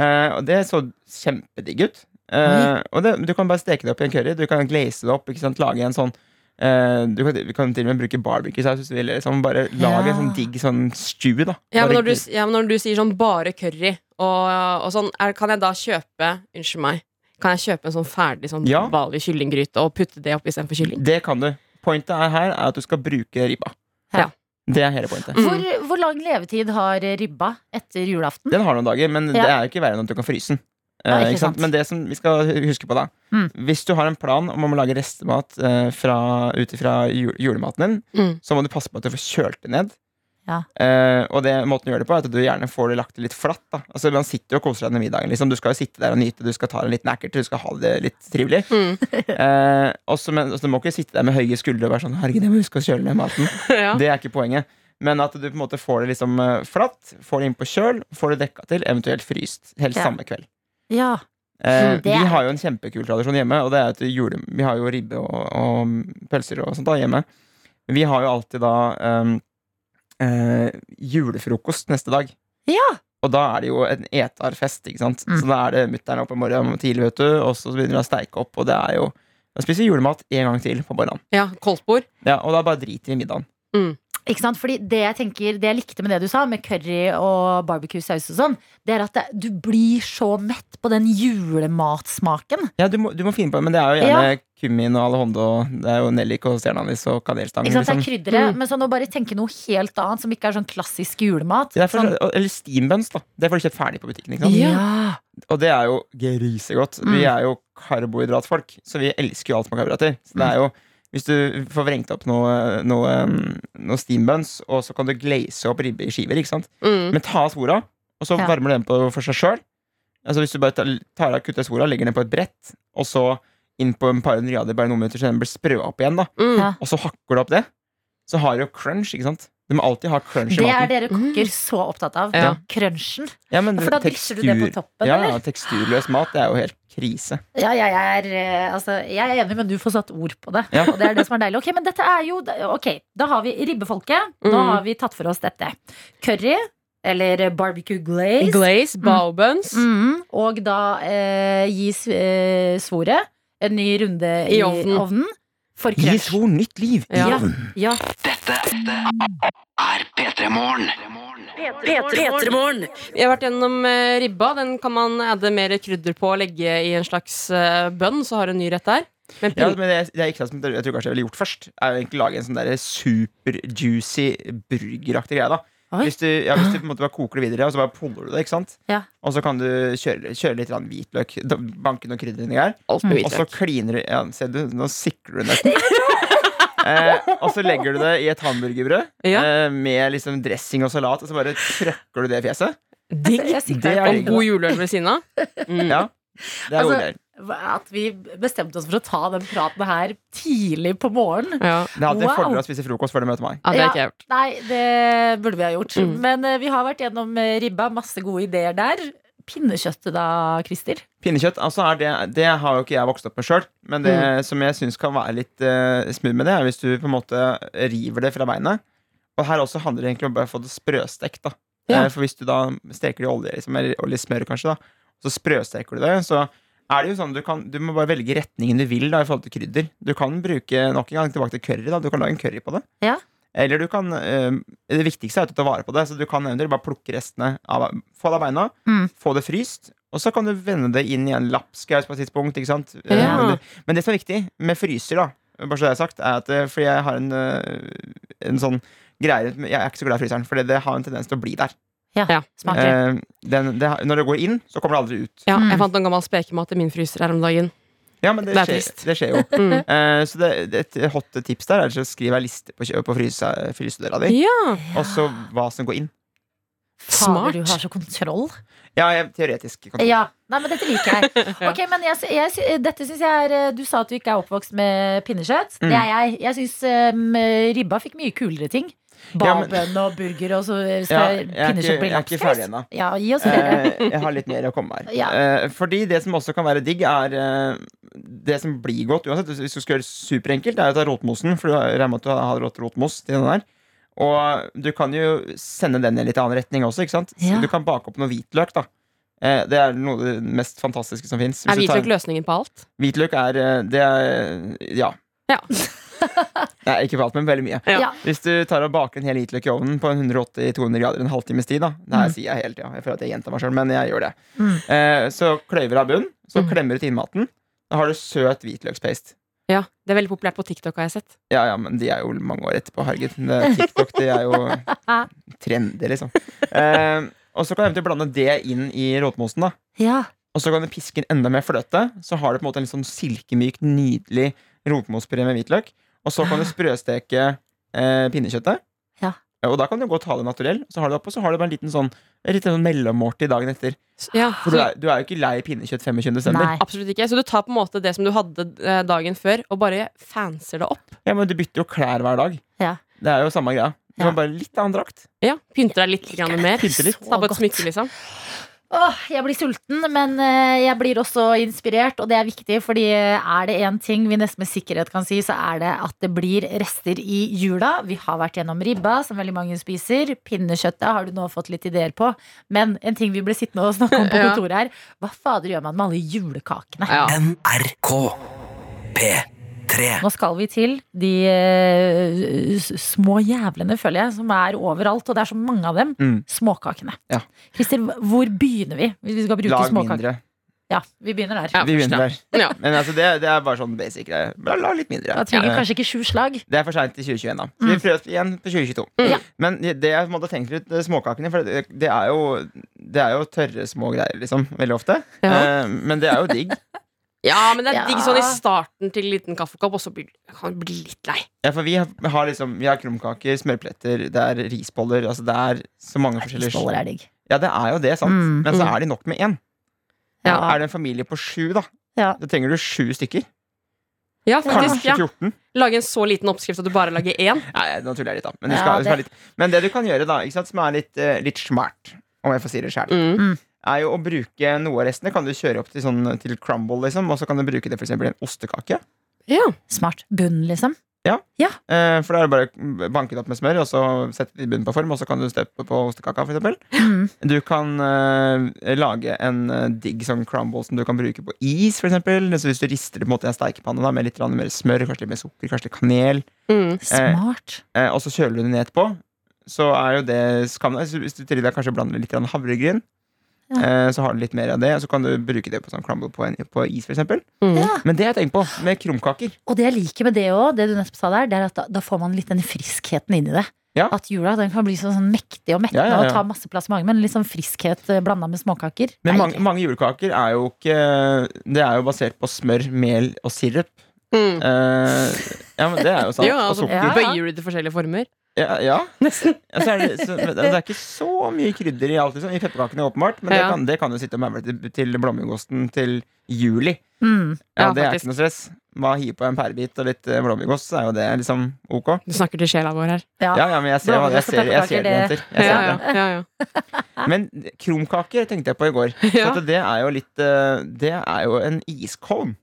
Eh, og det så kjempedigg ut. Eh, og det, du kan bare steke det opp i en curry. Du kan glaze det opp. ikke sant? Lage en sånn eh, du kan, du kan til og med bruke barbecue-saus hvis du vil. Liksom. Bare lage en sånn Ja. digg sånn stew. da Ja, men Bare når du, ja, men når du sier sånn bare curry og, og sånn, er, kan jeg da kjøpe Unnskyld meg. Kan jeg kjøpe en sånn ferdig sånn Ja. vanlig kyllinggryte og putte det opp istedenfor kylling? Det kan du. Pointet er her er at du skal bruke ribba. Ja. Det er hele pointet. hvor, hvor lang levetid har ribba etter julaften? Den har noen dager, men Ja. det er jo ikke verre enn at du kan fryse den. Eh, ikke ikke sant? sant. Men det som vi skal hu- huske på, da Mm. Hvis du har en plan om å lage restemat eh, fra- ut ifra jul julematen din, Mm. så må du passe på at du får kjølt det ned. Ja. Eh, og det, måten du gjør det på, er at du gjerne får det lagt det litt flatt. Da. Altså, man sitter jo og koser seg under middagen. Liksom. Du skal jo sitte der og nyte, du skal ta en liten erkert, du skal ha det litt trivelig. Mm. Eh, også, men, også, du må ikke sitte der med høye skuldre og være sånn Herregud, jeg må huske å kjøle ned maten. Ja. Det er ikke poenget. Men at du på en måte får det liksom eh, flatt, får det inn på kjøl, får det dekka til, eventuelt fryst. Helt Ja. samme kveld. Ja. Eh, Det vi er- har jo en kjempekul tradisjon hjemme, og det er at jule, vi har jo ribbe og, og mm, pølser og sånt da hjemme. Men Vi har jo alltid da eh, eh, julefrokost neste dag. Ja. Og da er det jo en etarfest, ikke sant. Mm. Så da er det mutter'n oppe i morgen tidlig, vet du, og så begynner det å steike opp, og det er jo Da spiser vi julemat en gang til på morgenen. ja. Koldtbord. Ja, og da bare driter vi i middagen. Ikke sant? Fordi det jeg tenker, det jeg likte med det du sa, med curry og barbecue-saus og sånn, det er at det, du blir så mett på den julematsmaken. Ja, du må, du må finne på det, men det er jo gjerne kummin og alhondo, det er jo nellik og stjerneanis og kanelstang. Ikke sant? Det Liksom. er krydderet, men sånn å bare tenke noe helt annet som ikke er sånn klassisk julemat. Det er for, sånn, eller steambuns, da. Det får du kjøpt ferdig på butikken. Ikke sant? ja. Og det er jo grisegodt. Vi Mm. er jo karbohydratfolk, så vi elsker jo alt som er karbohydrater. Så det er Mm. jo, hvis du får vrengt opp noe, noe, um, noe steambuns, og så kan du glaze opp ribbe i skiver, ikke sant? Mm. men ta av svora, og så Ja. varmer du den på for seg sjøl. Altså hvis du bare tar- tar av kutter svora, legger den på et brett, og så inn på en par riader bare noen minutter, så den blir sprø opp igjen, da. Mm. Ja. Og så hakker du opp det, så har du jo crunch, ikke sant? Du må alltid ha crunch i Det er maten. dere kokker Mm. så opptatt av. Ja. Crunchen. Ja, men For da drysser du det på tekstur- toppen, ja, eller? Ja, teksturløs mat, det er jo helt krise. Ja, jeg er, eh, altså, jeg er enig, men du får satt ord på det. Ja. Og det er det som er deilig. Ok, men dette er jo Ok, da har vi ribbefolket. Mm. Nå har vi tatt for oss dette. Curry, eller barbecue glaze. Glaze, baobuns. Mm, og da eh, gis eh, svoret en ny runde i, I ovnen. ovnen. For Gi crunch. svor nytt liv! Ja. Ja. Ja. Dette er P3 Morgen. P3morgen. Vi har vært gjennom eh, ribba. Den kan man adde mer krydder på og legge i en slags eh, bønn, så har du en ny rett der. Men Ja, pin- men det, det er ikke sant som jeg tror kanskje jeg ville gjort først, er jo egentlig lage en sånn der superjuicy burgeraktig greie. da Oi. Hvis du, ja, hvis du på en måte bare koker det videre, og så bare puller du det, ikke sant? Ja. og så kan du kjøre, kjøre litt grann hvitløk, da- banke noen krydder inni der, alt med og så hvitløk. kliner du ja, Ser du, nå sikler du nesten. Eh, og så legger du det i et hamburgerbrød Ja. eh, med liksom dressing og salat, og så bare trøkker du det i fjeset. Digg. Jeg sikter Det er på Og god juleøl ved siden av. Mm. Ja, det er Altså, gode greier. At vi bestemte oss for å ta den praten her tidlig på morgenen. Ja. Det er alltid en wow. fordel å spise frokost før du møter meg. ja, det Ja. er ikke jeg gjort. Nei, det burde vi ha gjort. Mm. Men eh, vi har vært gjennom eh, ribba. Masse gode ideer der. Pinnekjøttet da, Christer? Pinnekjøtt altså er det, det har jo ikke jeg vokst opp med sjøl, men det Mm. som jeg syns kan være litt uh, smooth med det, er hvis du på en måte river det fra beinet. Og her også handler det egentlig om bare å få det sprøstekt. da Ja. Eh, For hvis du da steker det i olje, liksom, eller, og litt smør kanskje, da, så sprøsteker du det. Så er det jo sånn du, kan, du må bare velge retningen du vil da i forhold til krydder. Du kan bruke nok en gang tilbake til curry. da Du kan lage en curry på det. Ja. Eller du kan eh, Det viktigste er jo å ta vare på det, så du kan eventuelt bare plukke restene av Få det av beina, Mm. få det fryst, og så kan du vende det inn i en lapskaus på et tidspunkt. Ikke sant? Eh, Ja. Men, det, men det som er viktig med fryser, da, bare så det er sagt, er at eh, fordi jeg har en, eh, en sånn greie rundt- Jeg er ikke så glad i fryseren, for det, det har en tendens til å bli der. Ja. Smaker det. Eh, den, det, har- når det går inn, så kommer det aldri ut. Ja, Mm. jeg fant noen gammel spekemat i min fryser her om dagen. Ja, men det, Det er skjer, trist. det skjer jo. Mm. Eh, så det, det, et hot tips der er å skrive ei liste på, kjø- på fryse, frysedøra di, Ja, og så hva som går inn. Fader, du smart. har så kontroll. Ja, jeg, teoretisk. kan du- Ja, Nei, men dette liker jeg. Ok, men jeg, sy- jeg, sy- dette synes jeg er eh, Du sa at du ikke er oppvokst med pinnekjøtt. Mm. Det er jeg. Jeg syns eh, ribba fikk mye kulere ting. Ja, men- Babønn og burger og så eh, Ja, skal jeg er ikke, pinnekjøtt bli jeg er ikke lapskaus. ferdig ennå. Ja, gi oss flere. Eh, jeg har litt mer å komme med her. Ja. Eh, fordi det som også kan være digg, er eh, det som blir godt uansett. Hvis du skal gjøre det superenkelt, det er å ta rotmosen, for du har- regner med at du har rått rotmos til den der. Og du kan jo sende den i en litt annen retning også, ikke sant? Så Ja. Du kan bake opp noe hvitløk, da. Eh, det er noe av det mest fantastiske som fins. Er hvitløk løsningen på alt? Hvitløk er eh, Det er Ja. Ja. Nei, ikke på alt, men veldig mye. Ja. Ja. Hvis du tar og baker en hel hvitløk i ovnen på en 180-200 grader en halvtimes tid, da Mm. Det her sier jeg hele tida, jeg føler at jeg gjentar meg sjøl, men jeg gjør det. Mm. Eh, så kløyver av bunn, så Mm. klemmer du til innmaten. Da har du søt hvitløkspaste. Ja, Det er veldig populært på TikTok, har jeg sett. Ja, ja, men de er jo mange år etterpå, herregud. Det- TikTok, det er jo trendy, liksom. Eh, og så kan du eventuelt blande det inn i rotmosen, da. Ja. Og så kan du piske inn enda mer fløte. Så har du på en måte en litt sånn silkemyk, nydelig rotmospré med hvitløk. Og så kan du sprøsteke eh, pinnekjøttet. Ja. Og da kan du godt ha det naturell. Så har du det oppå, så har du bare en liten sånn, en liten sånn mellommåltid dagen etter. Ja, For du er, du er jo ikke lei pinnekjøtt 25. desember. Nei. Absolutt ikke. Så du tar på en måte det som du hadde eh, dagen før, og bare fanser det opp. Ja, men du bytter jo klær hver dag. Ja. Det er jo samme greia. Du Ja. har bare litt annen drakt. Ja, Pynter deg litt grann mer. Pynter litt. Ta på Så et smykke, liksom. Åh, jeg blir sulten, men eh, jeg blir også inspirert, og det er viktig, fordi eh, er det én ting vi nesten med sikkerhet kan si, så er det at det blir rester i jula. Vi har vært gjennom ribba, som veldig mange spiser. Pinnekjøttet har du nå fått litt ideer på. Men en ting vi ble sittende og snakke om på Ja. kontoret her, hva fader gjør man med alle julekakene? Ja. NRK P3 Nå skal vi til de eh, s- små jævlene, føler jeg, som er overalt, og det er så mange av dem. Mm. Småkakene. Ja. Christer, hvor begynner vi? Hvis vi skal bruke Lag småkaker. mindre. Ja, vi begynner der. Ja, Vi begynner der. Ja. Men altså, det, det er bare sånn basic greie. Bare La litt mindre. Da trenger Eh, vi kanskje ikke sju slag. Det er for seint i 2021, da. Så vi prøver igjen på 2022. Mm. Ja. Men det jeg måtte tenke litt eh, småkakene, for det, det, er jo, det er jo tørre små greier, liksom. Veldig ofte. Ja. Eh, men det er jo digg. ja, men det er Ja. digg sånn i starten til en liten kaffekopp, og så blir, kan du bli litt lei. Ja, for vi har, har liksom Vi har krumkaker, smørpletter, det er risboller. Altså det er så mange forskjellige Risboller er digg. Ja, det er jo det, sant. Mm. Men så er de nok med én. Ja. Er det en familie på sju, da, Ja. da trenger du sju stykker. Ja, faktisk. Kanskje Ja. 14. Lage en så liten oppskrift at du bare lager én. Nei, nå tuller jeg litt, da. Men, du Ja, skal, du skal det- litt. men det du kan gjøre, da, ikke sant, som er litt, eh, litt smart, om jeg får si det sjæl, Mm. er jo å bruke noe av restene. Kan du kjøre opp til, sånn, til crumble, liksom, og så kan du bruke det for eksempel i en ostekake. Ja. Smart. Bunn, liksom. Eh, for da er det bare banket opp med smør, og så setter det i bunnen på form, og så kan du steppe på ostekaka, for eksempel. Mm. Du kan eh, lage en eh, digg sånn crumble som du kan bruke på is, for eksempel. Så hvis du rister det på en måte i en steikepanne da, med litt grann mer smør, kanskje litt mer sukker, kanskje litt kanel, Mm. Smart. eh, og så kjøler du det ned etterpå, så er jo det skammen. Så Hvis du til deg kanskje blander litt grann havregryn, Ja. eh, så har du litt mer av det, og så kan du bruke det på sånn crumble på, en, på is, for eksempel. Ja. Men det har jeg tenkt på med krumkaker. Og det jeg liker med det òg, det du nettopp sa der, det er at da, da får man litt den friskheten inn i det. Ja. At jula den kan bli sånn, sånn mektig og mettende Ja, ja, ja. og ta masse plass i magen, men litt sånn friskhet blanda med småkaker. Men Nei, mange, mange julekaker er jo ikke Det er jo basert på smør, mel og sirup. Mm. Eh, ja, men det er jo sant. Jo, og altså, sukker. Ja. Bøyer du det i forskjellige former? Ja, ja. Ja, så er det, så, men det er ikke så mye krydder i alt, liksom. I pepperkakene, åpenbart. Men det Ja. kan, det kan du sitte og mævle til, til blåmuggosten til juli. Mm. Ja, Ja, Det er faktisk. ikke noe stress. Bare hive på en pærebit og litt eh, blåmuggost, så er jo det liksom ok. Du snakker til sjela vår her. Ja. Ja, ja, men jeg ser, hva- Blåmuggost jeg og ser, jeg ser det, pepperkaker, jenter. Jeg ser det. ja, ja. Men krumkaker tenkte jeg på i går. Ja. At det er jo litt eh, Det er jo en iskolm.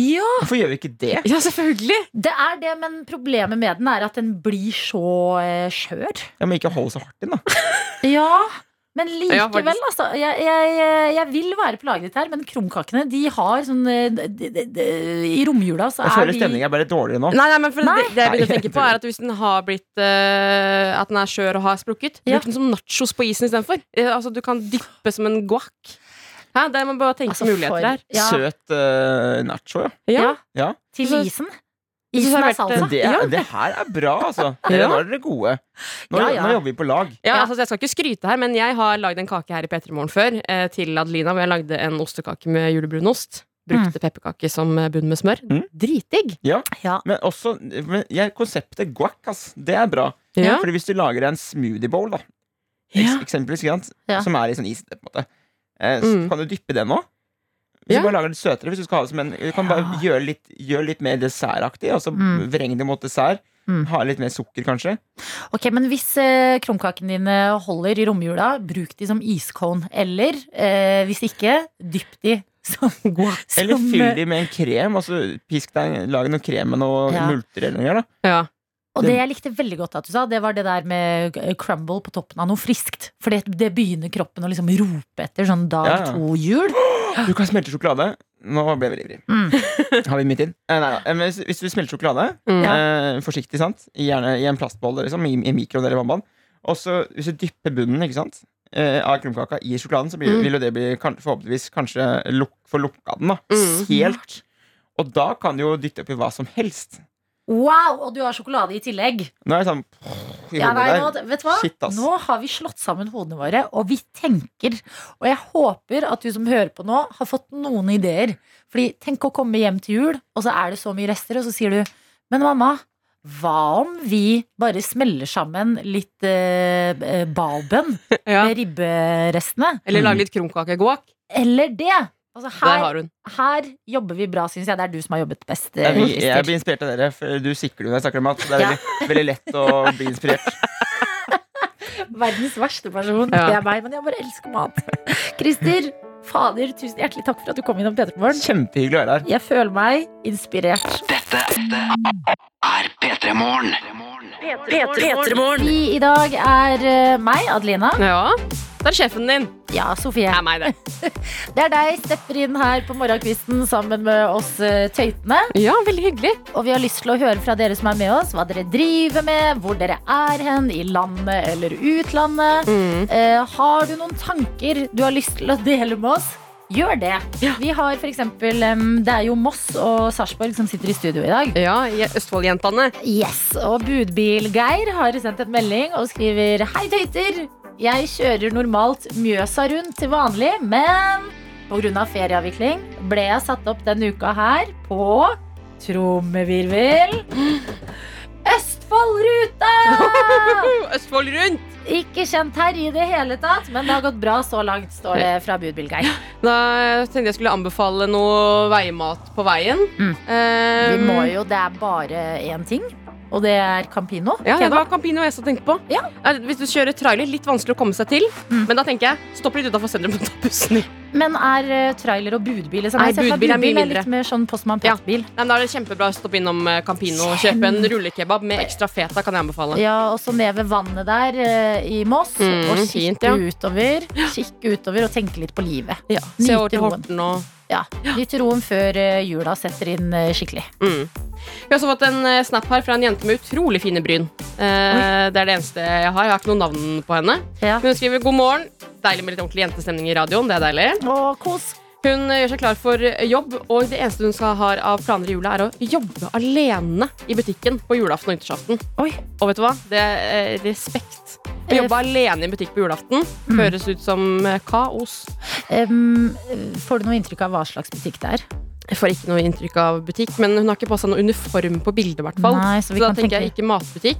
ja, Hvorfor gjør vi ikke det? Ja, selvfølgelig! det er det, men problemet med den er at den blir så eh, skjør. Ja, men ikke hold så hardt inn, da. Ja, men Ja, likevel, faktisk. altså. Jeg, jeg, eh, jeg vil være plaget her, men krumkakene, de har sånn eh, de, de, de, I romjula så Jeg er føler de stemningen er bare litt dårligere nå. Nei, nei, men for Nei. Det, det jeg begynner å Nei, tenke på, er at hvis den har blitt eh, At den er skjør og har sprukket, Ja. bruk den som nachos på isen istedenfor. Uh, altså, du kan dyppe som en guac. Hæ? Der må man bare tenke altså, for- muligheter der. Ja, Søt eh, nacho, ja. Ja. Ja. ja. til Så- isen. synes jeg Isen har er vært, salsa. eh, Men det, Ja. det her er bra, altså. Dere, Ja. Nå er dere gode. Nå, Ja, ja. nå jobber vi på lag. Ja, Ja. altså Jeg skal ikke skryte her, men jeg har lagd en kake her i P3 Morgen før eh, til Adelina. Hvor jeg lagde en ostekake med julebrunost. Brukte pepperkake som eh, bunn med smør. Mm. Dritdigg! Ja. Men også men jeg, konseptet guac, ass, det er bra. Ja. Fordi hvis du lager en smoothie bowl, da, Ja. eks- eksempelvis, ikke sant? Ja. som er i sånn is, på en måte, eh, så Mm. kan du dyppe den nå. Hvis Ja. du bare lager det søtere, hvis du skal ha det som en Du kan bare gjøre litt, gjøre litt mer dessertaktig, og så Mm. vreng det mot dessert. Mm. Ha litt mer sukker, kanskje. Ok, Men hvis eh, krumkakene dine holder i romjula, bruk de som iscone. Eller eh, hvis ikke, dypp de som eh, guac. Eller fyll de med en krem. Altså, pisk deg, Lag noe krem med noe Ja. multer eller noe. greier, Da. Ja. Og det jeg likte veldig godt at du sa, det var det der med eh, crumble på toppen av noe friskt. For det, det begynner kroppen å liksom rope etter sånn dag Ja, ja. to-jul. Du kan smelte sjokolade. Nå ble jeg veldig ivrig. Mm. Har vi midt inn? Eh, nei, da. Eh, men hvis, hvis du smelter sjokolade, Mm. eh, forsiktig, sant? Gjerne i en plastbolle, liksom, i, i mikroen eller vannband. Og så hvis du dypper bunnen ikke sant? Eh, av krumkaka i sjokoladen, så blir, Mm. vil jo det bli kan, forhåpentligvis kanskje luk, få lukka den. da Mm. Helt. Og da kan du jo dytte oppi hva som helst. Wow, og du har sjokolade i tillegg. Nå er jeg sånn i Ja, hodet nei, nå, der. vet du hva? Shit, ass. nå har vi slått sammen hodene våre, og vi tenker. Og jeg håper at du som hører på nå, har fått noen ideer. Fordi tenk å komme hjem til jul, og så er det så mye rester, og så sier du Men mamma, hva om vi bare smeller sammen litt eh, eh, balbønn Ja. med ribberestene? Mm. Eller lage litt krumkakegåk. Eller det! Altså Der her, har hun. her jobber vi bra, syns jeg. Det er du som har jobbet best. eh, Jeg, blir- jeg Christer. blir inspirert av dere, for du sikler jo når jeg snakker om mat. Det er Ja. veldig, veldig lett å bli inspirert. Verdens verste person. Ja. Det er meg, men jeg bare elsker mat. Christer, fader, tusen hjertelig takk for at du kom innom P3 Morgen. Kjempehyggelig å være her. Jeg føler meg inspirert. er P3 Morgen. P3morgen. Vi i dag er eh, meg, Adelina. Ja. Det er sjefen din. Ja, Sofie. Det er meg, det. Det er deg, stepper inn her på morgenkvisten sammen med oss eh, tøytene. Ja, veldig hyggelig. Og vi har lyst til å høre fra dere som er med oss, hva dere driver med, hvor dere er hen, i landet eller utlandet. Eh, har du noen tanker du har lyst til å dele med oss? Gjør det. Vi har for eksempel, em, Det er jo Moss og Sarpsborg som sitter i studio i dag. Ja, i Østfoldjentene. Yes, Og Budbil-Geir har sendt en melding og skriver Hei, tøyter. Jeg kjører normalt Mjøsa rundt til vanlig, men pga. ferieavvikling ble jeg satt opp denne uka her på trommevirvel Østfoldruta! Mm, Østfold rundt! Ikke kjent her i det hele tatt, men det har gått bra så langt, står det fra Budbil-Geir. Da tenkte jeg skulle anbefale noe veimat på veien. Mm. Vi Eh, må jo, det er bare én ting, og det er Campino. Ja, det kebab. var Campino jeg også tenkte på. Ja. Eh, Hvis du kjører trailer, litt vanskelig å komme seg til. Mm. Men da tenker jeg, stopp litt utenfor sentrum og ta bussen. Nei, Men er eh, trailer og budbil liksom? Nei, Jeg ser for meg budbil er mye budbil mindre. litt mer sånn postmann Ja. postbil. Ja. men da er det kjempebra å stoppe innom eh, Campino og kjøpe en rullekebab med ekstra feta, kan jeg anbefale. og så ned ved vannet der eh, i Moss, Mm, og fint, kikke ja. utover, kikke utover og tenke litt på livet. Se over Nyt til roen. Horten og Ja. Nyt roen før eh, jula setter inn eh, skikkelig. mm. Vi har også fått en eh, snap her fra en jente med utrolig fine bryn. Eh, det er det eneste jeg har. Jeg har ikke noe navn på henne. Ja. Men hun skriver 'God morgen'. Deilig med litt ordentlig jentestemning i radioen. Det er deilig. Og kos. Hun eh, gjør seg klar for eh, jobb, og det eneste hun skal ha av planer i jula, er å jobbe alene i butikken på julaften og nyttårsaften. Oi. Og vet du hva? Det er eh, respekt. Å Eh, Mm. jobbe alene i butikk på julaften høres ut som eh, kaos. Em, eh, får du noe inntrykk av hva slags butikk det er? Jeg får ikke noe inntrykk av butikk, men hun har ikke på seg noe uniform på bildet. i hvert fall. Nei, så vi da kan tenker tenke- jeg ikke matbutikk.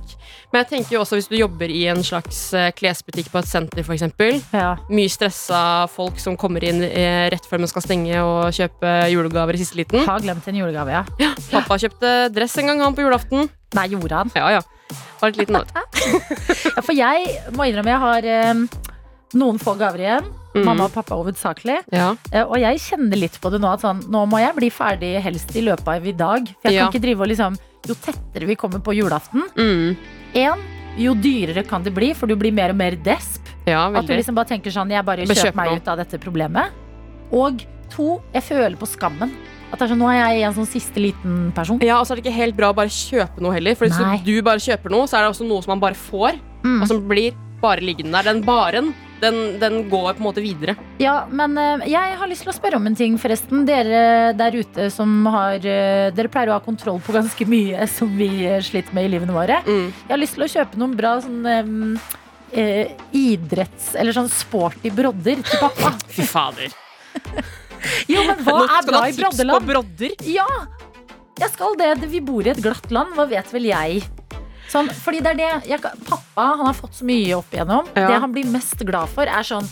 Men jeg tenker jo også hvis du jobber i en slags eh, klesbutikk på et senter, f.eks. Ja. Mye stressa folk som kommer inn eh, rett før man skal stenge og kjøpe julegaver i siste liten. Har glemt en julegave, ja. Pappa kjøpte dress en gang han på julaften. Nei, gjorde han. Ja, ja. Var litt liten nøtt. Ja, for jeg må innrømme jeg har em, noen få gaver igjen. Mm. Mamma og pappa hovedsakelig. Ja. Eh, Og jeg kjenner litt på det nå at sånn, nå må jeg bli ferdig helst i løpet av i dag. For jeg Ja. kan ikke drive og liksom Jo tettere vi kommer på julaften, Mm. en, jo dyrere kan det bli, for du blir mer og mer desp. ja, At du veldig. liksom bare tenker sånn Jeg bare Bare kjøper kjøp meg nå. ut av dette problemet. Og to, jeg føler på skammen. At det er sånn, Nå er jeg en sånn siste liten person. Ja, og så er det ikke helt bra å bare kjøpe noe heller. For hvis Nei. du bare kjøper noe, så er det også noe som man bare får, Mm. og som blir bare liggende der. Den baren, den, den går på en måte videre. Ja, men eh, jeg har lyst til å spørre om en ting, forresten. Dere der ute som har eh, Dere pleier å ha kontroll på ganske mye som vi eh, sliter med i livene våre. Mm. Jeg har lyst til å kjøpe noen bra sånn em, eh, idretts- eller sånn sporty brodder til pappa. Fy fader. Jo, men hva Nå er skal du bra ha i tips på broddeland? brodder. Ja, jeg skal det. Det- Vi bor i et glatt land, hva vet vel jeg? Sånn, fordi det er det jeg, kan- Pappa han har fått så mye opp igjennom. Ja. Det han blir mest glad for, er sånn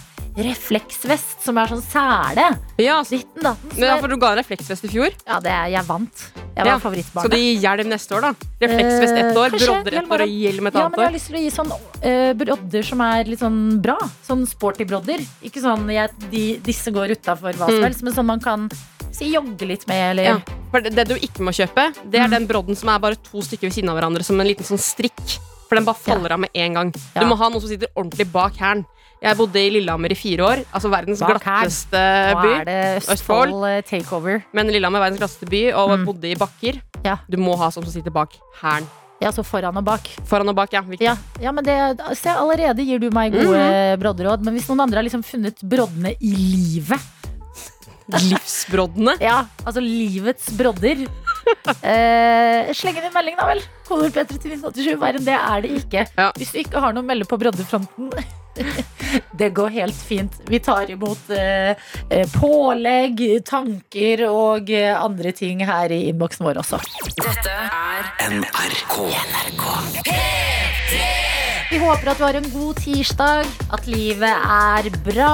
refleksvest som er sånn sele. Ja, så- Ditten datten. som men ja, er- for du ga en refleksvest i fjor. Ja, det er, jeg vant. Jeg var Ja, Skal favorittbarnet. du gi hjelm neste år, da? Refleksvest ett år, Eh, kanskje, brodder ett år og hjelm et Ja, men annet jeg har år. lyst til å gi sånn eh, brodder som er litt sånn bra. Sånn sporty brodder. Ikke sånn jeg, de, disse går utafor hva som Mm. helst, men sånn man kan si jogge litt med, eller Ja. For det, det du ikke må kjøpe, det Mm. er den brodden som er bare to stykker ved siden av hverandre, som en liten sånn strikk. For den bare faller av med en gang. Ja. Du må ha noe som sitter ordentlig bak hælen. Jeg bodde i Lillehammer i fire år, altså verdens Bak hælen. glatteste Nå by. er det Østfold eh, takeover. Men Lillehammer er verdens glatteste by, og bodde i bakker. Mm. Ja. Du må ha sånn som sitter bak hælen. Ja, så foran og bak. Foran og bak, ja. Viktig. Ja, ja men det, se, allerede gir du meg gode Mhm. brodderåd. Men hvis noen andre har liksom funnet broddene i livet Livsbroddene. Ja, altså livets brodder. Eh, sleng inn en melding, da vel. Kodord P3 til 1987. Verre enn det er det ikke. Ja. Hvis du ikke har noe å melde på breddefronten. Det går helt fint. Vi tar imot eh, eh, pålegg, tanker og eh, andre ting her i innboksen vår også. NRK. Vi håper at du har en god tirsdag, at livet er bra,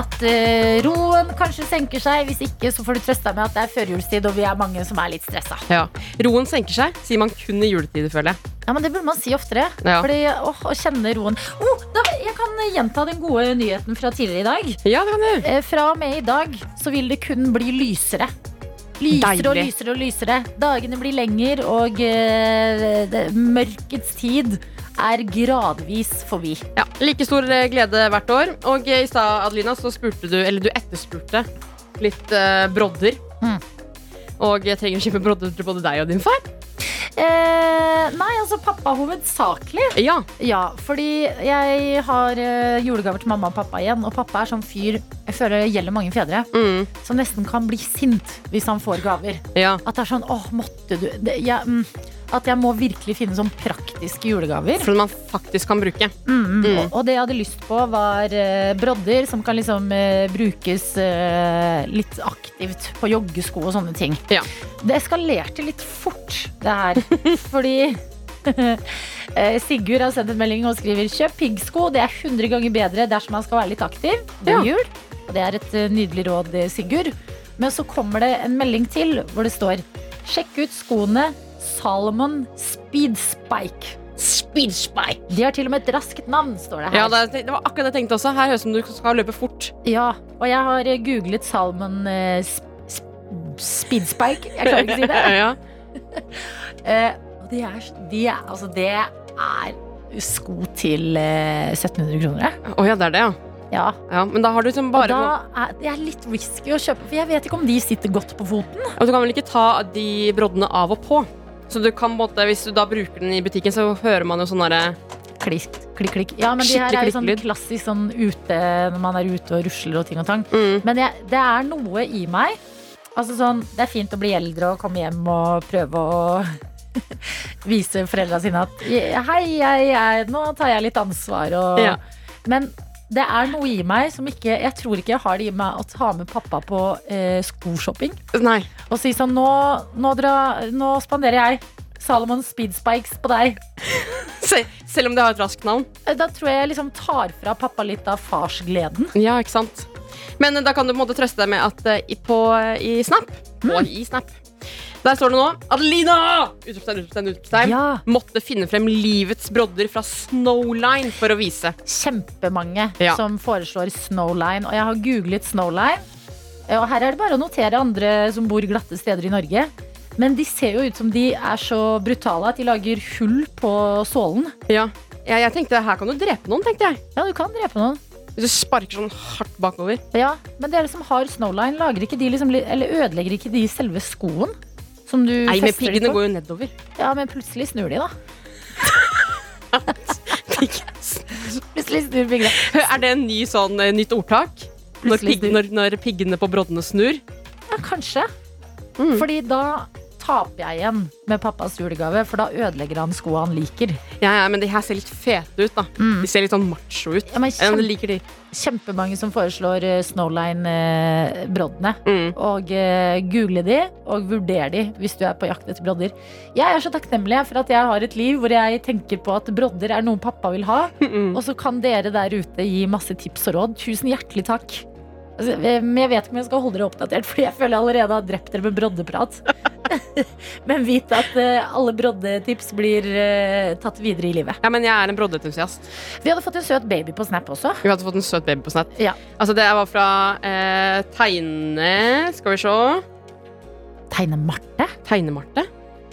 at eh, roen kanskje senker seg. Hvis ikke, så får du trøste deg med at det er førjulstid, og vi er mange som er litt stressa. Ja. Roen senker seg, sier man kun i juletid, føler jeg. Ja, men Det burde man si oftere. Ja. Fordi åh, Å kjenne roen oh, da, Jeg kan gjenta den gode nyheten fra tidligere i dag. Ja, det kan du. Eh, Fra og med i dag så vil det kun bli lysere. Lysere og Deilig. lysere og lysere. Dagene blir lenger, og eh, det, mørkets tid er gradvis forbi. Ja, like stor eh, glede hvert år. Og eh, i stad, Adelina, så spurte du, eller du etterspurte litt eh, brodder. Mm. Og jeg trenger å kjøpe brodder til både deg og din far. Eh, nei, altså pappa hovedsakelig. Ja, Ja, fordi jeg har eh, julegaver til mamma og pappa igjen. Og pappa er sånn fyr jeg føler det gjelder mange fedre, mm, som nesten kan bli sint hvis han får gaver. ja. At det er sånn, åh, måtte du det, jeg, mm, At jeg må virkelig finne sånn praktiske julegaver. For man faktisk kan bruke. Og, og det jeg hadde lyst på, var eh, brodder som kan liksom eh, brukes eh, litt aktivt på joggesko og sånne ting. Ja. Det eskalerte litt fort, det her. fordi eh, Sigurd har sendt en melding og skriver kjøp piggsko. Det er 100 ganger bedre dersom man skal være litt aktiv. Ja. God jul. Og det er et eh, nydelig råd, eh, Sigurd. Men så kommer det en melding til hvor det står sjekk ut skoene Salomon Speed Spike. De har til og med et raskt navn, står det her. Ja, det, det var akkurat det jeg tenkte også. Her høres det ut som du skal løpe fort. Ja, og jeg har eh, googlet Salmon eh, sp sp Speedspike. Jeg klarer ikke å si det. Ja. Eh, og de er, de er, altså, det er sko til eh, 1700 kroner. jeg. Å ja, det er det, ja. Ja, ja. Men da har du liksom og bare da er det er litt risky å kjøpe, for jeg vet ikke om de sitter godt på foten. Og Du kan vel ikke ta de broddene av og på. Så du kan på en måte, Hvis du da bruker den i butikken, så hører man jo sånn derre Klikk, klikk, klikk. Ja, men de her Skikkelig er jo sånn klikklyd. klassisk sånn ute når man er ute og rusler og ting og tang. mm, Men jeg, det er noe i meg Altså sånn, Det er fint å bli eldre og komme hjem og prøve å vise foreldra sine at Hei, jeg, jeg, nå tar jeg litt ansvar. Og, Ja. Men det er noe i meg som ikke Jeg tror ikke jeg har det i meg å ta med pappa på eh, skoshopping Nei. og si sånn Nå, nå, dra, nå spanderer jeg Salomon Speedspikes på deg. Se, selv om det har et raskt navn. Da tror jeg jeg liksom tar fra pappa litt av farsgleden. Ja, ikke sant? Men eh, da kan du på en måte trøste deg med at eh, i- på, eh, i Snap Og Hmm. i Snap Der står det nå Adelina! Utropstegn, utropstegn, utropstegn. Ja. Måtte finne frem livets brodder fra Snowline for å vise. kjempemange Ja. som foreslår Snowline. Og jeg har googlet Snowline. eh, Og her er det bare å notere andre som bor glatte steder i Norge. Men de ser jo ut som de er så brutale at de lager hull på sålen. Ja. Jeg, jeg tenkte her kan du drepe noen, tenkte jeg. Ja, du kan drepe noen. Hvis du sparker sånn hardt bakover. Ja, Men dere som har Snowline, lager ikke de liksom, li- eller ødelegger ikke de selve skoen? Som du Nei, men fester de på? piggene går jo nedover. Ja, men plutselig snur de, da. Plutselig snur piggene. er det en ny sånn eh, nytt ordtak? Når, Plutselig pigg- snur. når, når piggene på broddene snur? Ja, kanskje. Mm. Fordi da taper jeg igjen med pappas julegave, for da ødelegger han skoa han liker. Ja, ja, men de her ser litt fete ut, da. Mm. De ser litt sånn macho ut. Ja, men Ja, kjempe- men jeg liker de. kjempemange som foreslår eh, Snowline-broddene. Mm. Og eh, google de, og vurder de hvis du er på jakt etter brodder. Jeg er så takknemlig for at jeg har et liv hvor jeg tenker på at brodder er noe pappa vil ha. Og så kan dere der ute gi masse tips og råd. Tusen hjertelig takk. Altså, eh, men jeg vet ikke om jeg skal holde dere oppdatert, Fordi jeg føler jeg allerede har drept dere med broddeprat. men vit at eh, alle broddetips blir eh, tatt videre i livet. Ja, men jeg er en broddeentusiast. Vi hadde fått en søt baby på Snap også. Vi hadde fått en søt baby på Snap. Ja. Altså, det var fra eh, Tegne... Skal vi se. Tegne-Marte. Tegnemarte?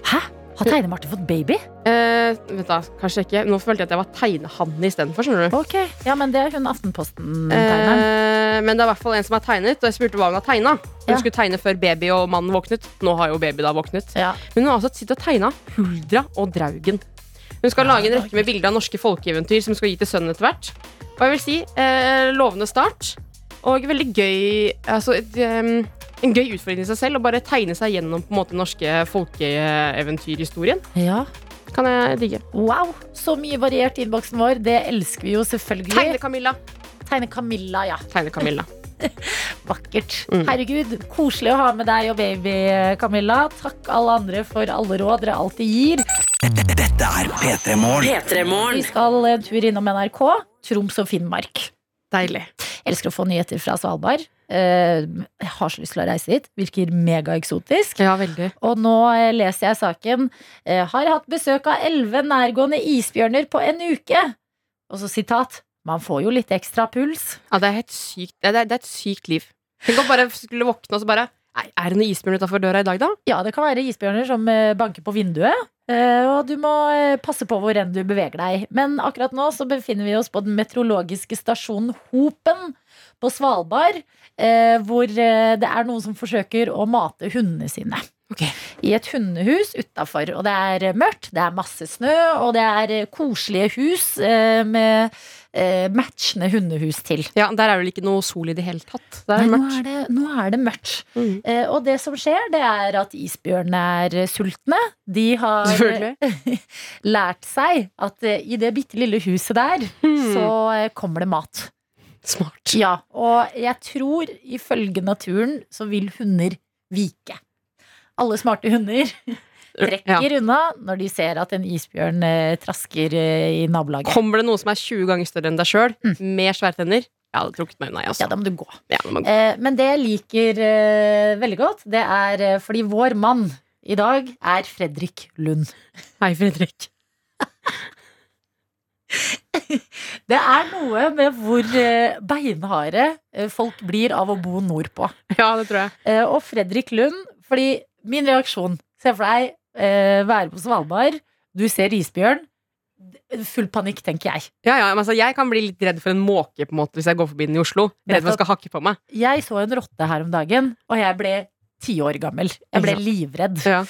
Hæ? Har Tegne-Marte fått baby? Eh, vent da, kanskje ikke. Nå følte jeg at jeg var Tegnehanne istedenfor. skjønner du? Ok, ja, men det er hun Aftenposten-tegneren. Eh, men det er i hvert fall en som er tegnet, og jeg spurte hva hun har tegna. Hun Ja. skulle tegne før baby og mannen våknet. Nå har jo baby da våknet. Ja. Men hun har altså sittet og tegna Huldra og Draugen. Hun skal lage en rekke med bilder av norske folkeeventyr som hun skal gi til sønnen etter hvert. Og jeg vil si eh, lovende start. Og veldig gøy altså, et, eh, en gøy utfordring i seg selv å bare tegne seg gjennom på en måte den norske folkeeventyrhistorien. Eh, Ja. Kan jeg digge. Wow, så mye variert i innboksen vår. Det elsker vi jo selvfølgelig. Tegne Camilla. Tegne Camilla, ja. Tegne Camilla. Vakkert. Mm. Herregud, koselig å ha med deg og baby, Camilla. Takk alle andre for alle råd dere alltid gir. Dette er P3 Morgen. P3morgen. Vi skal en tur innom NRK. Troms og Finnmark. Deilig. Elsker å få nyheter fra Svalbard. Eh, Jeg har så lyst til å reise dit. Virker megaeksotisk. Ja, veldig. Og nå eh, leser jeg saken. Eh, Har hatt besøk av elleve nærgående isbjørner på en uke. Og så sitat. Man får jo litt ekstra puls. Ja, det er helt sykt. Det er, det er et sykt liv. Tenk om bare skulle våkne og så bare Nei, er det noen isbjørn utafor døra i dag, da? Ja, det kan være isbjørner som eh, banker på vinduet. eh, Og du må eh, passe på hvor enn du beveger deg. Men akkurat nå så befinner vi oss på den meteorologiske stasjonen Hopen på Svalbard. eh, Hvor eh, det er noen som forsøker å mate hundene sine. Ok. I et hundehus utafor. Og det er eh, mørkt, det er masse snø, og det er eh, koselige hus eh, med eh, matchende hundehus til. Ja, Der er vel ikke noe sol i det hele tatt. Det er Nei, nå, mørkt. er det, nå er det mørkt. Mm. Eh, og det som skjer, det er at isbjørnene er eh, sultne. De har Selvfølgelig. eh, lært seg at eh, i det bitte lille huset der, Mm. så eh, kommer det mat. Smart. Ja, og jeg tror ifølge naturen så vil hunder vike. Alle smarte hunder Ja. trekker unna når de ser at en isbjørn eh, trasker eh, i nabolaget. Kommer det noe som er 20 ganger større enn deg sjøl, med svære Jeg hadde trukket meg unna. Mm. jeg, Ja, Altså. da må du gå. Ja, da må man gå. Eh, men det jeg liker eh, veldig godt, det er eh, fordi vår mann i dag er Fredrik Lund. Hei, Fredrik. Det er noe med hvor eh, beinharde eh, folk blir av å bo nordpå. Ja, det tror jeg. Eh, og Fredrik Lund, fordi min reaksjon Se for deg eh, være på Svalbard, du ser isbjørn. Full panikk, tenker jeg. Ja, ja, men altså, jeg kan bli litt redd for en måke på en måte hvis jeg går forbi den i Oslo. Redd for at den skal hakke på meg. Jeg så en rotte her om dagen, og jeg ble ti år gammel. Jeg ble Ja. livredd. Ja.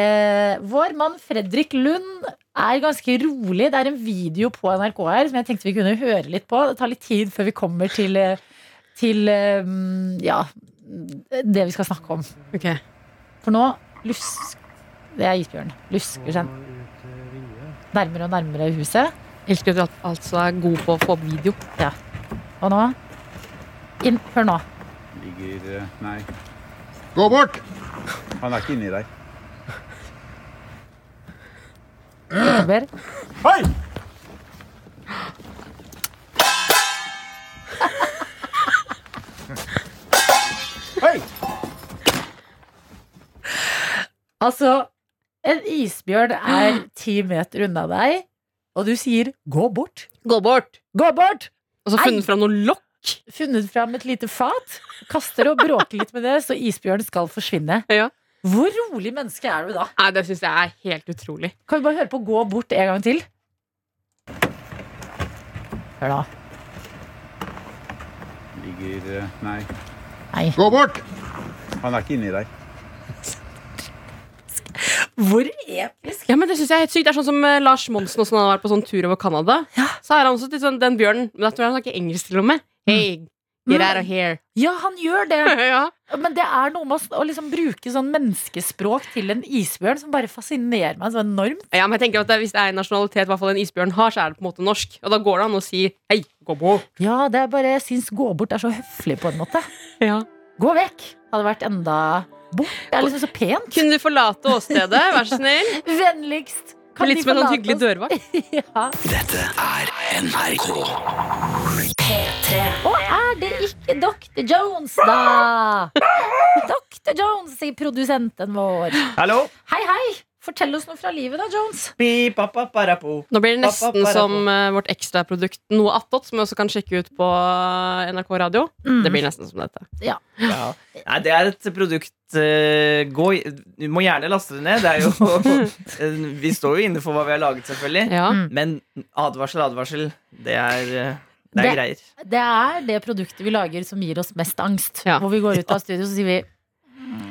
Eh, vår mann Fredrik Lund er ganske rolig. Det er en video på NRK her som jeg tenkte vi kunne høre litt på. Det tar litt tid før vi kommer til, eh, til eh, mm, ja, det vi skal snakke om. Ok. For nå lusk... Det er isbjørn. Lusker seg nærmere og nærmere huset. Elsker at du altså er god på å få opp video. Og nå inn, Hør nå. Ligger eh, Nei, Gå bort! han er ikke inni der. Kommer. Hei! Altså, en isbjørn er ti meter unna deg, og du sier 'gå bort'. Gå bort! Gå bort! Og så funnet fram noen lokk. funnet fram et lite fat, kaster og bråker litt med det, så isbjørnen skal forsvinne. Ja. Hvor rolig menneske er du da? Nei, Det syns jeg er helt utrolig. Kan vi bare høre på Gå bort en gang til? Hør da. Ligger eh, Nei, Gå bort! han er ikke inni der. Hvor episk! Ja, men Det synes jeg er helt sykt. Det er sånn som eh, Lars Monsen også, når han har vært på sånn tur over Canada. Ja. Mm. Så er han også litt sånn den bjørnen. Men da tror jeg han snakker engelsk til og med. Hey, get out of here. Ja, han gjør det! ja. Men det er noe med å s- å liksom bruke sånn menneskespråk til en isbjørn som bare fascinerer meg så enormt. ja, men jeg tenker at det, Hvis det er en nasjonalitet i hvert fall en isbjørn har, så er det på en måte norsk. Og da går det an å si hei, gå på. Ja, det er bare, jeg syns gå bort er så høflig på en måte. Ja. Gå vekk! Hadde vært enda bort. Det er liksom så pent. Kunne du forlate åstedet, vær så snill? Vennligst! Kan de litt som en forlate sånn hyggelig oss? dørvakt. Ja. Dette er NRK. Og er det ikke Dr. Jones, da? Dr. Jones, sier produsenten vår. Hallo? Hei, hei! Fortell oss noe fra livet, da, Jones. Pi-pa-pa-parapo. Nå blir det Pappa, nesten bare som på. eh, vårt ekstraprodukt Noe attåt, som vi også kan sjekke ut på eh, NRK radio. Mm. Det blir nesten som dette. Ja. Nei, det er et produkt eh, gå, i- Du må gjerne laste det ned. Det er jo, Eh, vi står jo inne for hva vi har laget, selvfølgelig. Ja. Mm. Men advarsel, advarsel. Det er, eh, det Det- er greier. Det er det produktet vi lager som gir oss mest angst. Ja. Hvor vi går ut av studio, så sier vi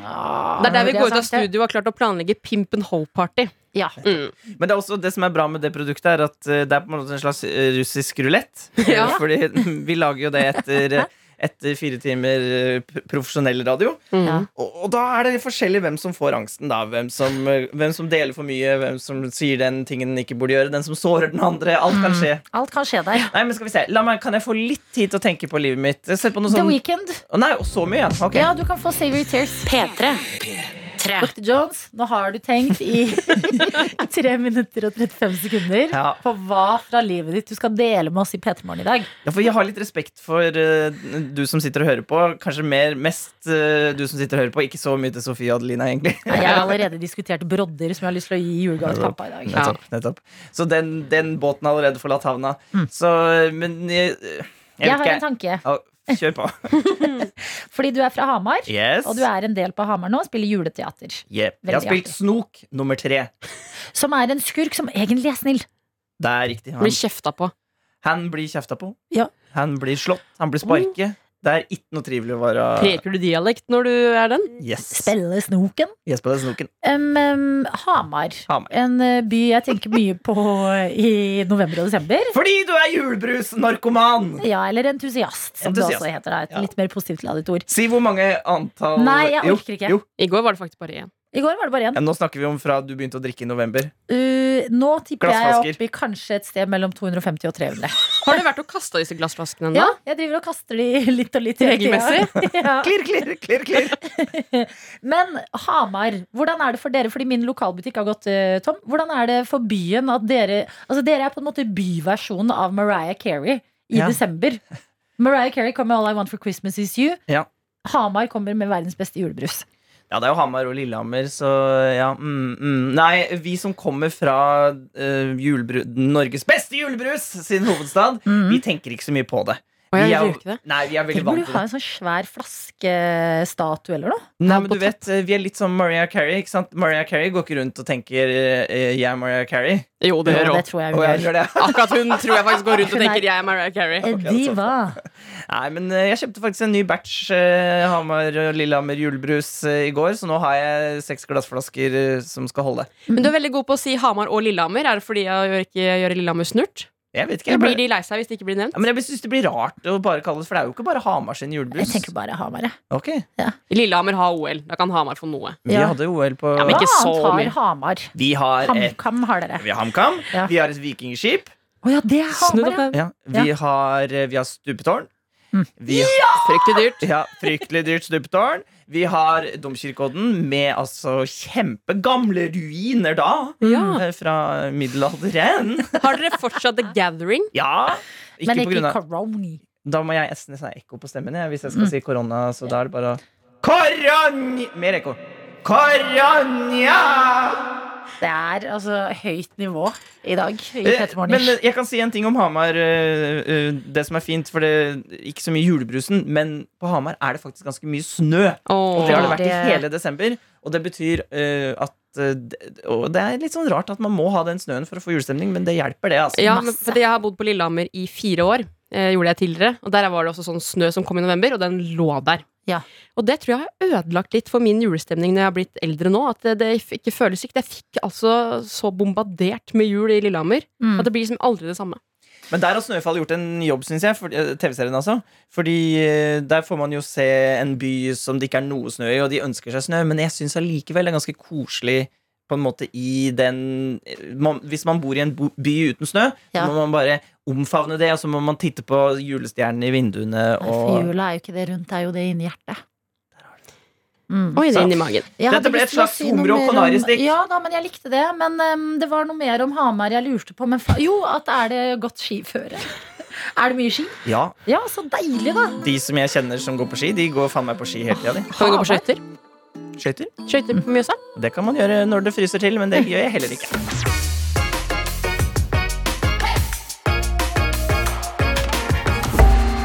Det er der vi det er går ut av sant, det. studio og har klart å planlegge Pimp and Hoe-party. Ja. Mm. Men det er også det som er bra med det produktet, er at eh, det er på en måte en slags eh, russisk rulett. Ja. Fordi vi lager jo det etter eh, etter fire timer eh, p- profesjonell radio. Mm. Og, og da er det forskjellig hvem som får angsten, da. Hvem som, eh, hvem som deler for mye, hvem som sier den tingen den ikke burde gjøre, den som sårer den andre. Alt Mm. kan skje. Alt kan skje der. Nei, men skal vi se. La meg, kan jeg få litt tid til å tenke på livet mitt? Sett på noe The sånn Weekend. Å, Nei, og så mye, ja. Ok. Ja, du kan få Save Your Tears. P3. Dr. Jones, nå har du tenkt i 3 minutter og 35 sekunder Ja. på hva fra livet ditt du skal dele med oss i P3 Morgen i dag. Ja, for jeg har litt respekt for eh, du som sitter og hører på. Kanskje mer, mest eh, du som sitter og hører på. Ikke så mye til Sofie og Adelina, egentlig. Nei, Jeg har allerede diskutert brodder som jeg har lyst til å gi i julegave til pappa i dag. Nettopp, nettopp. Så den, den båten har allerede forlatt havna. Mm. Så, eh, men jeg, jeg, vet Jeg har ikke. en tanke. Ja, Kjør på. Fordi du er fra Hamar, Yes. og du er en del på Hamar nå og spiller juleteater. Yep. Jeg har Veldig spilt artig. Snok nummer tre. Som er en skurk som egentlig er snill. Det er riktig. Han, Blir kjefta på. han blir kjefta på. Ja. Mm. Han blir slått. Han blir sparket. Det er ikke noe trivelig å være Preker du dialekt når du er den? Yes. Spille snoken. Yes på den snoken. Um, um, Hamar. Hamar. En eh, by jeg tenker mye på eh, i november og desember. Fordi du er julebrus-narkoman! Ja, eller entusiast, som Entusiast. det også heter. Da. Et Ja. litt mer positivt ladet ord. Si hvor mange antall Nei, jeg Jo, orker ikke. Jo. I går var det faktisk bare én. I går var det bare én. Ja, nå snakker vi om fra du begynte å drikke i november. Uh, nå tipper jeg Glassflasker. opp i kanskje et sted mellom 250 og 300. Har du vært og kasta disse glassflaskene Ja, ennå? jeg driver og kaster de litt og litt. i veggen, ja. Ja. Klirr, klirr, klirr, klirr. Men Hamar, hvordan er det for dere? Fordi min lokalbutikk har gått eh, tom. Hvordan er det for byen at dere Altså, dere er på en måte byversjonen av Mariah Carey i Ja. desember. Mariah Carey kom med All I Want for Christmas Is You. Ja. Hamar kommer med verdens beste julebrus. Ja, det er jo Hamar og Lillehammer, så ja mm, mm. Nei, vi som kommer fra eh, julebru Norges beste julebrus sin hovedstad, Mhm. vi tenker ikke så mye på det. Å, jeg vi er, gjør ikke det. Nei, vi er Mm. veldig Tenk om vant du til har det. en sånn svær flaskestatue eller noe. Nei, på men du vet, eh, Vi er litt som Mariah Carey. ikke sant? Mariah Carey går ikke rundt og tenker eh, eh, 'jeg er Mariah Carey'. Jo, det gjør Jo, det hun. tror jeg Og hun jeg gjør. gjør det. Akkurat hun tror jeg faktisk går rundt og Hun er- Eh, tenker jeg er Mariah Carey. En Diva. Nei, men eh, jeg kjøpte faktisk en ny batch eh, Hamar og Lillehammer julebrus eh, i går, så nå har jeg seks glassflasker eh, som skal holde. Men du er veldig god på å si Hamar og Lillehammer. Er det fordi jeg gjør ikke gjør Lillehammer snurt? Jeg vet ikke, Eller blir jeg bare, de lei seg hvis det ikke blir nevnt? ja, men jeg syns det blir rart å bare kalle det For det er jo ikke bare Hamar sin Jeg julebrus. tenker bare Hamar, jeg. Ok, Lillehammer har OL. Da kan Hamar få noe. Vi Ja. hadde OL på Ja, Hva men ikke så annet har mye. Hamar? Vi har et HamKam har dere. vi har HamKam, Ja. vi har et vikingskip, Å ja, det er Snudd Hamar, opp ja. ned. ja. vi, har, eh, vi har stupetårn. Mm. Vi har, Fryktelig dyrt. ja, fryktelig dyrt stupetårn. Vi har Domkirkeodden med altså kjempegamle ruiner da. Ja. eh, Fra middelalderen. Har dere fortsatt The Gathering? Ja. Ikke Men på grunn ikke av Coroni. Da må jeg nesten ha ekko på stemmen jeg, hvis jeg Mm. skal si korona. Så da er det bare Koroni... Mer ekko. Koronja! Det er altså høyt nivå i dag. I Eh, Petter Men eh, Morgen. jeg kan si en ting om Hamar. eh, eh, Det som er fint, for det er ikke så mye julebrusen, men på Hamar er det faktisk ganske mye snø. Og Åh. det har det vært i Det- hele desember. Og det betyr eh, at eh, det- og det er litt sånn rart at man må ha den snøen for å få julestemning, men det hjelper, det. altså Ja, men fordi jeg har bodd på Lillehammer i fire år. Eh, gjorde jeg tidligere Og Der var det også sånn snø som kom i november, og den lå der. Ja. Og det tror jeg har ødelagt litt for min julestemning når jeg har blitt eldre nå. At det, det f- ikke føles ikke Jeg fikk altså så bombardert med jul i Lillehammer Mm. at det blir liksom aldri det samme. Men der har Snøfall gjort en jobb, syns jeg. for- eh, TV-serien, altså. Fordi eh, der får man jo se en by som det ikke er noe snø i, og de ønsker seg snø, men jeg syns allikevel det er ganske koselig på en måte i den eh, man, Hvis man bor i en bo- by uten snø, Ja. så må man bare omfavne det, og så må man titte på julestjernene i vinduene Nei, For og jula er jo ikke det rundt, det er jo det inni hjertet. Mm. Oi, det Så- er inni Jeg magen. Dette hadde ble lyst et til å slags si noe hummer og mer om- kanaristikk. Ja da, men jeg likte det. Men em, det var noe mer om Hamar jeg lurte på. Men fa jo, at er det godt skiføre? er det mye ski? Ja, Ja, så deilig, da. de som jeg kjenner som går på ski, de går faen meg på ski hele tida, de. Kan vi gå på skøyter? Skøyter? Skøyter på Mjøsa? Det kan man gjøre når det fryser til, men det gjør jeg heller ikke.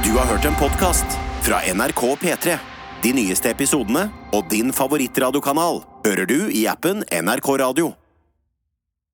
Du har hørt en podcast fra NRK P3. De nyeste episodene og din favorittradiokanal hører du i appen NRK Radio.